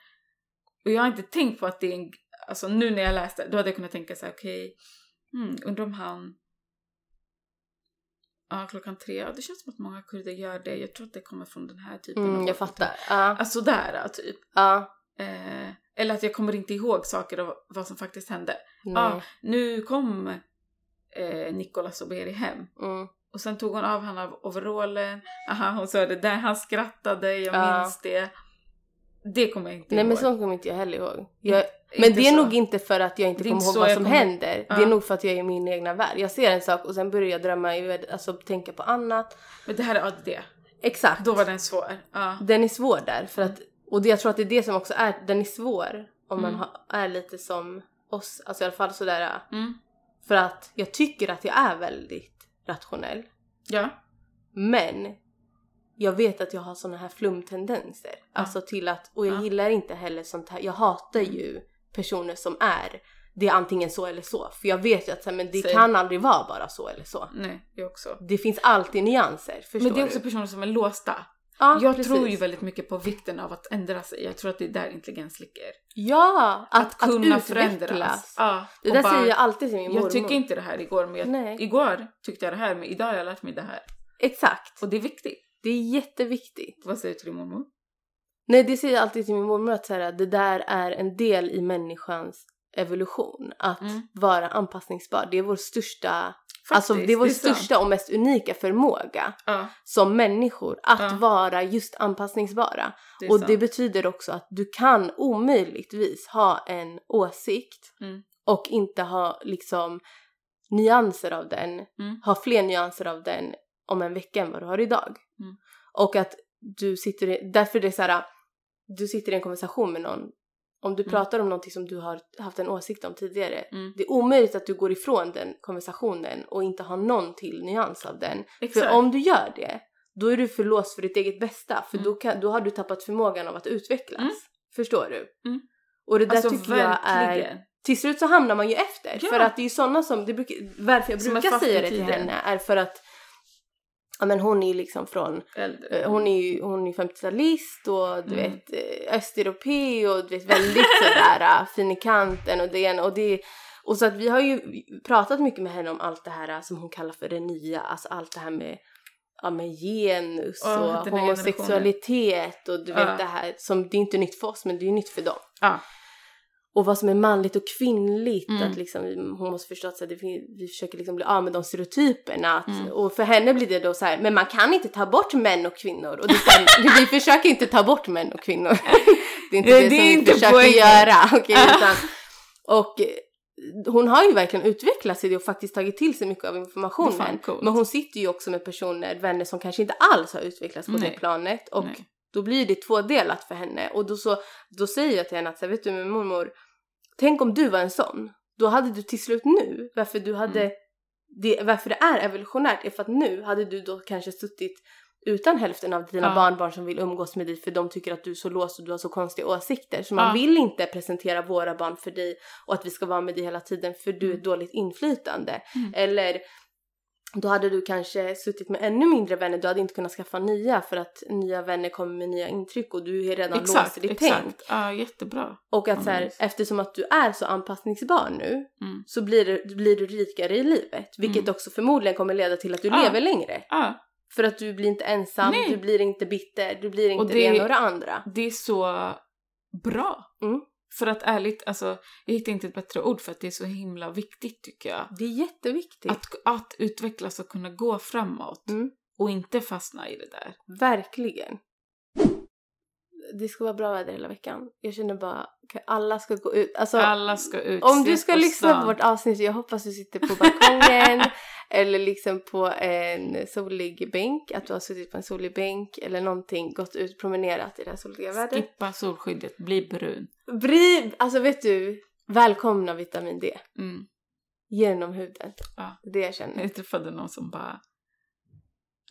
A: Och jag har inte tänkt på att det är en, alltså nu när jag läste, då hade jag kunnat tänka så här, okej, mm, undrar om han Ja, klockan tre. Ja, det känns som att många kurder gör det. Jag tror att det kommer från den här typen
B: Mm, jag fattar. Ja.
A: Typ Alltså där, typ.
B: Ja.
A: Eh, eller att jag kommer inte ihåg saker och vad som faktiskt hände. Ah,
B: Nej.
A: Nu kom eh, Nicolas och Beri hem
B: Mm.
A: och sen tog hon av honom av overallen. Aha, hon sa det där, han skrattade, jag
B: Ja.
A: minns det. Det kommer jag inte
B: Nej
A: ihåg.
B: men sånt kommer inte jag heller ihåg. Jag, men
A: Inte
B: det är
A: så.
B: nog inte för att jag inte
A: Det är
B: kommer
A: inte
B: ihåg
A: så
B: vad
A: jag
B: som
A: kommer-
B: händer. Det
A: Ja.
B: är nog för att jag är i min egna värld. Jag ser en sak och sen börjar jag drömma, i värld- alltså tänka på annat.
A: Men det här är ADD.
B: Exakt.
A: Då var den svår. Ja.
B: Den är svår där för att, och det, jag tror att det är det som också är, den är svår om man
A: Mm.
B: ha, är lite som oss, alltså i alla fall sådär.
A: Mm.
B: För att jag tycker att jag är väldigt rationell.
A: Ja.
B: Men jag vet att jag har såna här flumtendenser. Alltså till att, och jag
A: Ja. Mm.
B: gillar inte heller sånt här. Jag hatar ju personer som är, det är antingen så eller så. För jag vet ju att så här, men det
A: Säg.
B: kan aldrig vara bara så eller så.
A: Nej, jag också.
B: Det finns alltid nyanser, förstår
A: Men det är också
B: du?
A: personer som är låsta.
B: Ja,
A: jag
B: precis.
A: tror ju väldigt mycket på vikten av att ändra sig. Jag tror att det är där intelligens ligger.
B: Ja! Att, att
A: kunna
B: utvecklas.
A: förändras. Ja,
B: Det
A: och
B: där
A: bara-
B: säger jag alltid till min mormor.
A: Jag tycker inte det här igår, men jag,
B: Nej.
A: igår tyckte jag det här, men idag har jag lärt mig det här.
B: Exakt.
A: Och det är viktigt.
B: Det är jätteviktigt.
A: Vad säger du till din mormor?
B: Nej, det säger jag alltid till min mormor att så här, det där är en del i människans evolution. Att
A: Mm.
B: vara anpassningsbar. Det är vår största, alltså det är vår
A: sant.
B: största och mest unika förmåga
A: Ja,
B: som människor att
A: Ja.
B: vara just anpassningsbara.
A: det är
B: och
A: sant.
B: det betyder också att du kan omöjligtvis ha en åsikt
A: Mm.
B: och inte ha liksom nyanser av den,
A: Mm.
B: ha fler nyanser av den om en vecka än vad du har idag.
A: Mm.
B: Och att du sitter, i- därför det är så här, du sitter i en konversation med någon, om du
A: Mm.
B: pratar om någonting som du har haft en åsikt om tidigare,
A: Mm.
B: det är omöjligt att du går ifrån den konversationen och inte har någon till nyans av den.
A: Exakt.
B: För om du gör det, då är du för låst för ditt eget bästa. För då,
A: Mm.
B: kan, då har du tappat förmågan av att utvecklas.
A: Mm.
B: Förstår du?
A: Mm.
B: Och det där
A: alltså
B: tycker
A: verkligen.
B: jag är... Till slut så hamnar man ju efter.
A: Ja.
B: För att det är ju sådana som... Det brukar, varför jag
A: Som är
B: brukar
A: fast i
B: säga det till
A: tiden.
B: henne är för att ja, men hon är ju liksom från...
A: Äldre.
B: eh, Hon är ju hon är 50-talist och du
A: Mm.
B: vet eh, östeuropé och du vet väldigt sådär eh, fin i kanten och det ena och det och så att vi har ju pratat mycket med henne om allt det här eh, som hon kallar för det nya, alltså allt det här med, ja, med genus
A: Ja, den
B: och
A: nya
B: homosexualitet och du vet
A: Ja.
B: det här som det är inte nytt för oss men det är ju nytt för dem.
A: Ja.
B: Och vad som är manligt och kvinnligt,
A: Mm.
B: att liksom, hon måste förstå att så här, det, fin- vi försöker liksom bli av med de stereotyperna. Att,
A: Mm.
B: Och för henne blir det då så här, men man kan inte ta bort män och kvinnor. Och det är så här, vi försöker inte ta bort män och kvinnor. Det är inte
A: Nej, det
B: det, som
A: är
B: vi
A: inte
B: försöker
A: poängen.
B: göra. okej, utan, och eh, hon har ju verkligen utvecklat sig och faktiskt tagit till sig mycket av
A: Det är fan
B: informationen.
A: coolt.
B: Men hon sitter ju också med personer, vänner som kanske inte alls har utvecklats på
A: Nej.
B: det planet. Och
A: Nej.
B: då blir det tvådelat för henne. Och då, så, då säger jag till henne att, så här, vet du min mormor, tänk om du var en sån. Då hade du till slut nu,
A: Mm.
B: varför du hade, det, varför det är evolutionärt är för att nu hade du då kanske suttit utan hälften av dina
A: Ja.
B: barnbarn som vill umgås med dig för de tycker att du är så låst och du har så konstiga åsikter. Så man
A: Ja.
B: vill inte presentera våra barn för dig och att vi ska vara med dig hela tiden för du är
A: Mm.
B: ett dåligt inflytande.
A: Mm.
B: Eller då hade du kanske suttit med ännu mindre vänner, du hade inte kunnat skaffa nya för att nya vänner kommer med nya intryck och du är redan låst i
A: Exakt,
B: ditt tänk.
A: exakt. Ja, jättebra.
B: Och att så här,
A: Analys.
B: eftersom att du är så anpassningsbar nu
A: Mm.
B: så blir du, blir du rikare i livet. Vilket
A: Mm.
B: också förmodligen kommer leda till att du
A: Ja.
B: lever längre.
A: Ja,
B: För att du blir inte ensam,
A: Nej.
B: du blir inte bitter, du blir inte
A: Och
B: det,
A: det-
B: ena och det andra.
A: det är så bra.
B: Mm.
A: För att ärligt, alltså, jag hittar inte ett bättre ord för att det är så himla viktigt tycker jag.
B: Det är jätteviktigt.
A: Att, att utvecklas och kunna gå framåt
B: Mm.
A: och inte fastna i det där.
B: Verkligen. Det ska vara bra väder hela veckan. Jag känner bara, okej, alla ska gå ut. Alltså,
A: Alla ska ut.
B: om du
A: ses
B: ska
A: på
B: lyssna
A: stan.
B: på vårt avsnitt, jag hoppas du sitter på balkongen eller liksom på en solig bänk, att du har suttit på en solig bänk eller någonting, gått ut, promenerat i det här soliga vädret.
A: Skippa solskyddet, bli brun.
B: Bri, alltså vet du, välkomna vitamin D
A: Mm.
B: genom huden.
A: Ja.
B: Det är det jag känner.
A: Jag träffade någon som bara...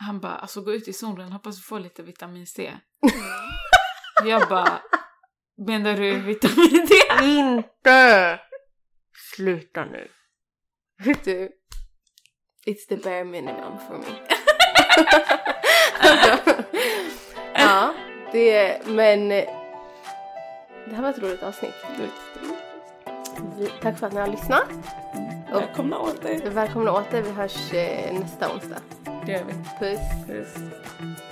A: Han bara, alltså gå ut i solen, hoppas du får lite vitamin
B: Mm.
A: C. jag bara, menar du vitamin D?
B: Inte! Sluta nu. Vet du, it's the bare minimum for me. ja, det, men det här var ett roligt avsnitt. Vi, tack för att ni har lyssnat.
A: Välkomna åter.
B: Välkomna åter, vi hörs eh, nästa onsdag.
A: Det gör vi.
B: Puss!
A: Puss.